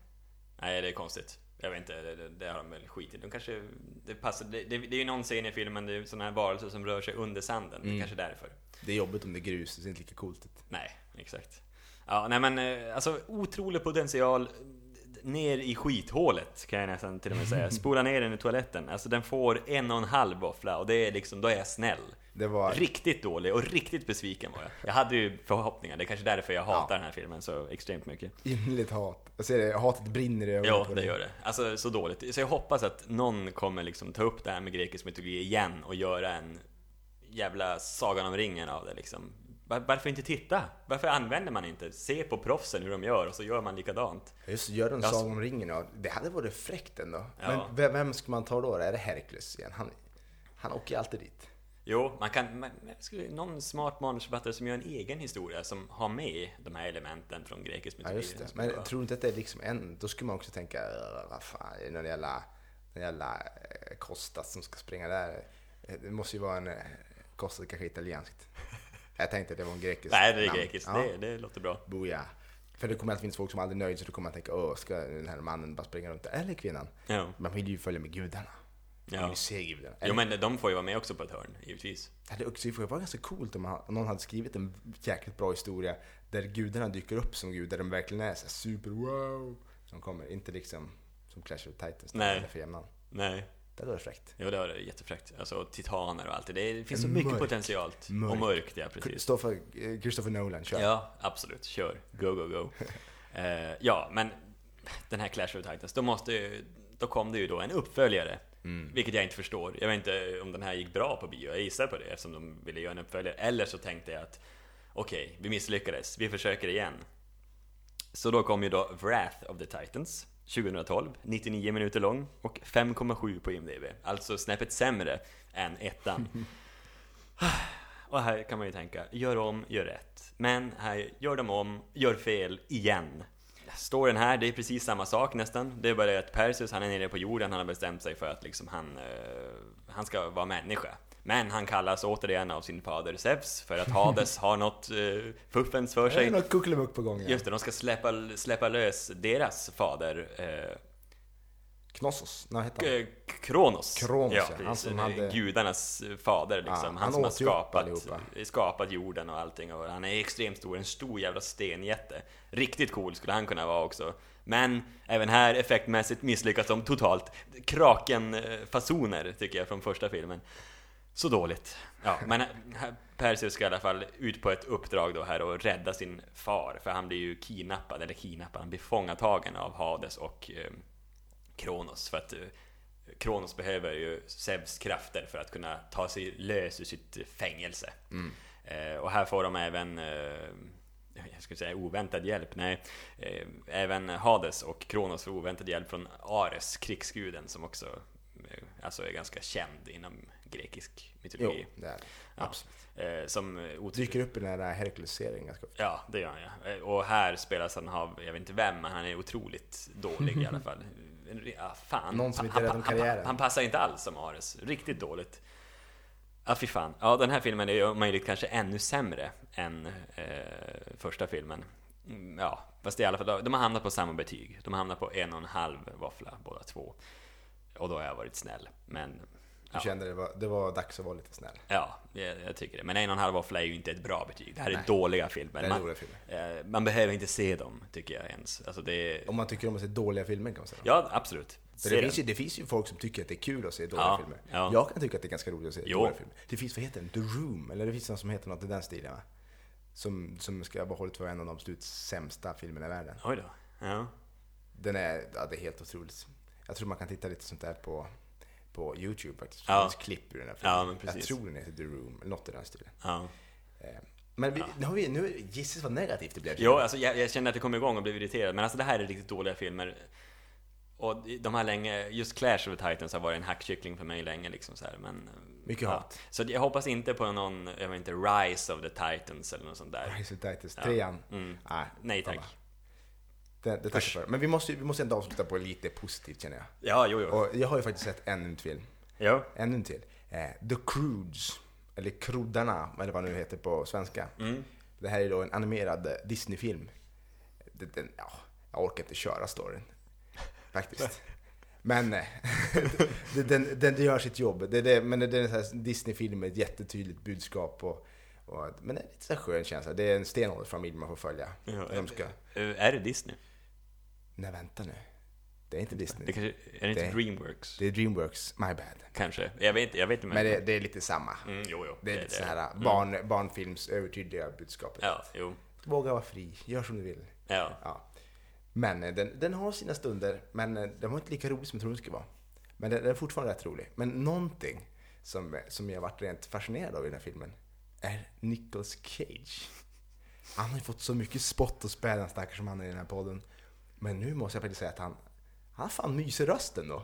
Speaker 1: Nej, det är konstigt. Jag vet inte, det, det, det har de väl skitit De kanske, det passar, det, det, det är ju någon scen i filmen, det är ju sådana här varelser som rör sig under sanden.
Speaker 2: Mm.
Speaker 1: Det är kanske är därför.
Speaker 2: Det är jobbigt om det är grus, det ser inte lika coolt ut.
Speaker 1: Nej, exakt. Ja, nej men eh, alltså otrolig potential d- ner i skithålet kan jag nästan till och med
Speaker 2: <laughs>
Speaker 1: säga. Spola ner den i toaletten. Alltså den får en och en halv våffla och det är liksom, då är jag snäll.
Speaker 2: Det var...
Speaker 1: Riktigt dålig och riktigt besviken var jag. Jag hade ju förhoppningar, det är kanske därför jag hatar den här filmen så extremt mycket.
Speaker 2: Innerligt hat. Jag ser det, hatet brinner i ögonen
Speaker 1: Ja,
Speaker 2: på
Speaker 1: det
Speaker 2: dig.
Speaker 1: gör det. Alltså så dåligt. Så jag hoppas att någon kommer liksom ta upp det här med grekisk mytologi igen och göra en jävla Sagan om ringen av det liksom. Var- Varför inte titta? Varför använder man inte? Se på proffsen hur de gör och så gör man likadant.
Speaker 2: Just gör en
Speaker 1: Jag
Speaker 2: sång om ringen. Ja. Det hade varit fräckt ändå.
Speaker 1: Ja.
Speaker 2: Men vem, vem ska man ta då? Är det Hercules igen? Han, han åker ju alltid dit.
Speaker 1: Jo, man kan... Man, man skulle- någon smart manusförfattare som gör en egen historia som har med de här elementen från grekisk
Speaker 2: Ja,
Speaker 1: mytologi.
Speaker 2: just det.
Speaker 1: skulle
Speaker 2: Men
Speaker 1: vara-
Speaker 2: tror du inte att det är liksom en... Då skulle man också tänka, "Äh, vad fan, är det någon jävla, någon jävla eh, Kostas som ska springa där? Eh, Det måste ju vara en... eh, Kostas kanske
Speaker 1: <laughs>
Speaker 2: är italienskt. Jag tänkte att det var en grekisk
Speaker 1: Nej, det är
Speaker 2: namn.
Speaker 1: grekiskt.
Speaker 2: Ja.
Speaker 1: Det, det låter bra.
Speaker 2: Boja. För det kommer alltid finnas folk som aldrig är nöjda, så då kommer man tänka, åh, ska den här mannen bara springa runt där? Eller kvinnan.
Speaker 1: Ja.
Speaker 2: Man vill ju följa med gudarna.
Speaker 1: Ja.
Speaker 2: Man vill ju se gudarna.
Speaker 1: Jo, men de får ju vara med också på ett hörn, givetvis.
Speaker 2: Det hade också det var ganska coolt om man- om någon hade skrivit en jäkligt bra historia där gudarna dyker upp som gudar, de verkligen är så här super wow som kommer. Inte liksom som Clash of Titans, där
Speaker 1: Nej.
Speaker 2: man är för jämnan.
Speaker 1: Nej.
Speaker 2: Det hade varit fräckt.
Speaker 1: Jo, det var det. jättefräckt. Alltså titaner och allt det. Det finns så mycket
Speaker 2: Mörkt.
Speaker 1: potentialt. Och
Speaker 2: Mörkt.
Speaker 1: mörkt, ja precis.
Speaker 2: Christopher, eh, Christopher Nolan, kör.
Speaker 1: Ja, absolut. Kör. Go, go, go. Eh, ja, men den här Clash of Titans, då måste ju, Då kom det ju då en uppföljare. Vilket jag inte förstår. Jag vet inte om den här gick bra på bio. Jag gissar på det eftersom de ville göra en uppföljare. Eller så tänkte jag att okej, vi misslyckades. Vi försöker igen. Så då kom ju då Wrath of the Titans 2012, 99 minuter lång och 5,7 på IMDB. Alltså snäppet sämre än ettan. och här kan man ju tänka, gör om, gör rätt. Men här gör de om, gör fel igen. Storyn här, det är precis samma sak nästan. Det är bara det att Perseus, han är nere på jorden, han har bestämt sig för att liksom han, eh, han ska vara människa. Men han kallas återigen av sin fader Zeus för att
Speaker 2: <laughs>
Speaker 1: Hades har något eh, fuffens för
Speaker 2: Det är
Speaker 1: sig.
Speaker 2: något kuckelimuck på gång. Ja.
Speaker 1: Just det, de ska släppa, släppa lös deras fader. Eh,
Speaker 2: Knossos? Nej, vad heter han?
Speaker 1: K- Kronos.
Speaker 2: Kronos, ja.
Speaker 1: precis.
Speaker 2: Han som
Speaker 1: Det är
Speaker 2: hade-
Speaker 1: Gudarnas fader liksom.
Speaker 2: Ja,
Speaker 1: han,
Speaker 2: han
Speaker 1: som har
Speaker 2: åt ju upp
Speaker 1: skapat, eh,
Speaker 2: allihopa.
Speaker 1: skapat jorden och allting. Och han är extremt stor, en stor jävla stenjätte. Riktigt cool skulle han kunna vara också. Men även här effektmässigt misslyckas de totalt. Kraken-fasoner tycker jag från första filmen. Så dåligt. Ja, men eh, här- Perseus ska i alla fall ut på ett uppdrag då här och rädda sin far. För han blir ju kidnappad, eller kidnappad, han blir fångatagen av Hades och eh, Kronos. För att eh, Kronos behöver ju Zeus krafter för att kunna ta sig lös ur sitt fängelse.
Speaker 2: Mm.
Speaker 1: Eh, och här får de även, eh, jag skulle säga oväntad hjälp, nej. Eh, även Hades och Kronos får oväntad hjälp från Ares, krigsguden, som också eh, alltså är ganska känd inom grekisk
Speaker 2: Jo,
Speaker 1: mytologi.
Speaker 2: det är det.
Speaker 1: Ja.
Speaker 2: Absolut.
Speaker 1: Eh, som otur-
Speaker 2: Dyker upp i den här Hercules-serien ganska ofta.
Speaker 1: Ja, det gör han ja. Eh, Och här spelas han av, jag vet inte vem, men han är otroligt dålig i alla
Speaker 2: <laughs>
Speaker 1: fall. En re- Ja, fan.
Speaker 2: Någon som inte
Speaker 1: Han-
Speaker 2: är rädd om
Speaker 1: han-
Speaker 2: karriären.
Speaker 1: Han, han passar inte alls som Ares. Riktigt dåligt. Ja, fy fan. Ja, den här filmen är ju om möjligt kanske ännu sämre än eh, första filmen. Mm, Ja, fast i alla fall, de har hamnat på samma betyg. De har hamnat på en och en halv våffla båda två. Och då har jag varit snäll. Men
Speaker 2: Du kände det var, det var dags att vara lite snäll.
Speaker 1: Ja, jag, jag tycker det. Men en och en halv våffla är ju inte ett bra betyg. Det här är dåliga filmer.
Speaker 2: Det är
Speaker 1: man,
Speaker 2: dåliga filmer.
Speaker 1: eh, man behöver inte se dem, tycker jag ens. Alltså det är,
Speaker 2: Om man tycker om att se dåliga filmer kan man säga.
Speaker 1: ja, absolut. Se
Speaker 2: För det,
Speaker 1: den.
Speaker 2: finns ju, det finns ju folk som tycker att det är kul att se dåliga
Speaker 1: Ja,
Speaker 2: filmer.
Speaker 1: ja.
Speaker 2: Jag kan tycka att det är ganska roligt att se
Speaker 1: Jo.
Speaker 2: dåliga filmer. Det finns, vad heter den? The Room? Eller det finns någon som heter något i den stilen va? Som, som ska vara hållit för en av de absolut sämsta filmerna i världen.
Speaker 1: Oj då. Ja.
Speaker 2: Den är, ja, det är helt otroligt. Jag tror man kan titta lite sånt där på, på YouTube faktiskt.
Speaker 1: Ja.
Speaker 2: Det finns klipp ur den här filmen.
Speaker 1: Ja, men precis.
Speaker 2: Jag tror den heter The Room, eller något i den stilen.
Speaker 1: Ja.
Speaker 2: Eh, Men vi, nu har vi, nu, gissas vad negativt det blev.
Speaker 1: Jo, alltså, jag, jag kände att det kom igång och blev irriterad. Men alltså det här är riktigt dåliga filmer. Och de har länge, just Clash of the Titans har varit en hackkyckling för mig länge liksom så här, men...
Speaker 2: Mycket hat.
Speaker 1: Så jag hoppas inte på någon, jag vet inte, Rise of the Titans eller något sånt där.
Speaker 2: Rise of Titans, trean. Nej,
Speaker 1: Mm. Nej tack.
Speaker 2: det, det tackar för. Men vi måste, ju- vi måste ändå avsluta på lite positivt känner jag.
Speaker 1: Ja, jo, jo.
Speaker 2: Och jag har ju faktiskt sett ännu en film.
Speaker 1: Ja.
Speaker 2: Ännu en till. Eh, The Croods. Eller Kroddarna, eller vad det nu heter på svenska.
Speaker 1: Mm.
Speaker 2: Det här är då en animerad eh, Disney-film. Den, den, ja, jag orkar inte köra storyn. Faktiskt. Men eh, <laughs> den, den, den gör sitt jobb. Det, det, men det, det är en sån här Disney-film med ett jättetydligt budskap. Och, och, men det är lite så här skön känsla. Det är en stenåldersfamilj man får följa.
Speaker 1: Ja,
Speaker 2: de ska,
Speaker 1: Eh, Är det Disney?
Speaker 2: nej, vänta nu. Det är inte Disney.
Speaker 1: Det kanske, är det inte
Speaker 2: Det-
Speaker 1: Dreamworks?
Speaker 2: Det är Dreamworks, my bad.
Speaker 1: Kanske. Jag vet inte, jag vet inte.
Speaker 2: Men det, det är lite samma.
Speaker 1: mm, jo, jo.
Speaker 2: Det Mm. är lite så här barn, barnfilms övertydliga budskapet.
Speaker 1: Ja, jo.
Speaker 2: Våga vara fri, gör som du vill.
Speaker 1: Ja.
Speaker 2: Ja. Men eh, den, den har sina stunder, men eh, den var inte lika rolig som jag trodde den skulle vara. Men den, den är fortfarande rätt rolig. Men någonting som, eh, som jag varit rent fascinerad av i den här filmen är Nicolas Cage. Han har ju fått så mycket spott och spä den stackars som han är i den här podden. Men nu måste jag faktiskt säga att han, han fan myser rösten då.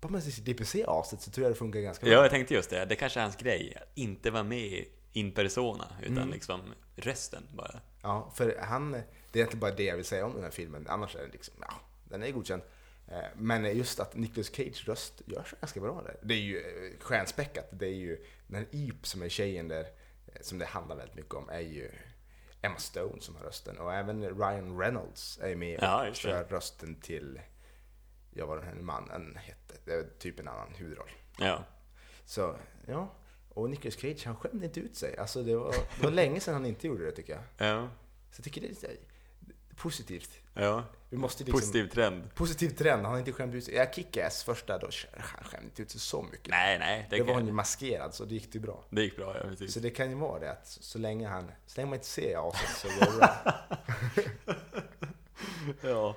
Speaker 2: Bara med sitt DPC-avsnitt så tror jag det funkar ganska bra.
Speaker 1: ja, jag tänkte just det. Det kanske är hans grej. att Inte vara med in persona, utan
Speaker 2: Mm.
Speaker 1: liksom resten bara.
Speaker 2: Ja, för han, det är inte bara det jag vill säga om den här filmen, annars är den liksom, ja, den är godkänd. Eh, Men just att Nicolas Cage röst görs ganska bra där. Det är ju eh, stjärnspäckat. Det är ju den Yp som är tjejen där, eh, som det handlar väldigt mycket om, är ju Emma Stone som har rösten. Och även Ryan Reynolds är med och
Speaker 1: Ja, just det.
Speaker 2: kör rösten till, ja vad den här mannen hette, det är typ en annan huvudroll.
Speaker 1: Ja.
Speaker 2: Så, ja. Och Nicolas Cage, han skämde inte ut sig. Alltså det var, det var länge sedan han inte gjorde det tycker jag.
Speaker 1: Ja.
Speaker 2: Så jag tycker det är lite positivt.
Speaker 1: ja.
Speaker 2: Vi måste liksom,
Speaker 1: Positiv trend.
Speaker 2: positiv trend, han har inte skämt ut sig. Ja, Kick-Ass första, då sk- han skämde inte ut sig så mycket.
Speaker 1: Nej, nej. Det,
Speaker 2: det var
Speaker 1: kan-
Speaker 2: han ju maskerad, så det gick ju bra.
Speaker 1: det gick bra, ja precis.
Speaker 2: Så det kan ju vara det att så länge, han, så länge man inte ser aset så går det <laughs> bra.
Speaker 1: Ja.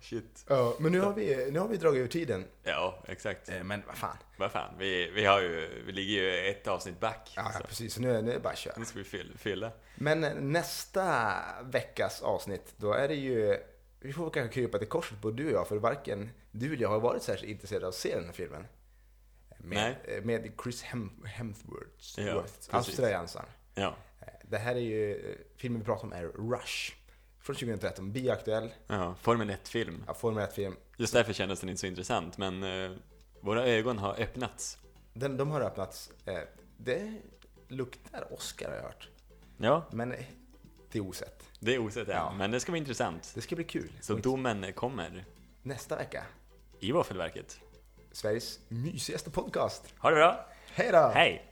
Speaker 1: Shit.
Speaker 2: ja, men nu har, vi, nu har vi dragit över tiden.
Speaker 1: Ja, exakt.
Speaker 2: Eh, Men vad fan.
Speaker 1: Vad fan, vi, vi har ju, vi ligger ju ett avsnitt back.
Speaker 2: Ja, ja,
Speaker 1: så.
Speaker 2: precis. Så nu, är- nu är det bara att köra.
Speaker 1: Nu ska vi fyll- fylla.
Speaker 2: Men eh, nästa veckas avsnitt, då är det ju... Vi får väl kanske krypa till korset både du och jag, för varken du eller jag har varit särskilt intresserade av att se den här filmen. Med, med Chris Hem, Hemsworth.
Speaker 1: Ja,
Speaker 2: Worth.
Speaker 1: precis.
Speaker 2: Australiensaren.
Speaker 1: Ja.
Speaker 2: Eh, Det här är ju... eh, Filmen vi pratar om är Rush. Från 2013, bioaktuell.
Speaker 1: ja. Formel 1-film.
Speaker 2: Ja, Formel 1-film.
Speaker 1: Just därför kändes den inte så intressant, men eh, våra ögon har öppnats.
Speaker 2: Den, de har öppnats. Eh, Det luktar Oscar har jag hört.
Speaker 1: Ja,
Speaker 2: Men eh, det är osett.
Speaker 1: det är osett än,
Speaker 2: Ja.
Speaker 1: men det ska bli intressant.
Speaker 2: Det ska bli kul.
Speaker 1: Så domen kommer.
Speaker 2: Nästa vecka i Våffelverket.
Speaker 1: Sveriges mysigaste podcast.
Speaker 2: Ha det bra!
Speaker 1: Hej då!
Speaker 2: Hej!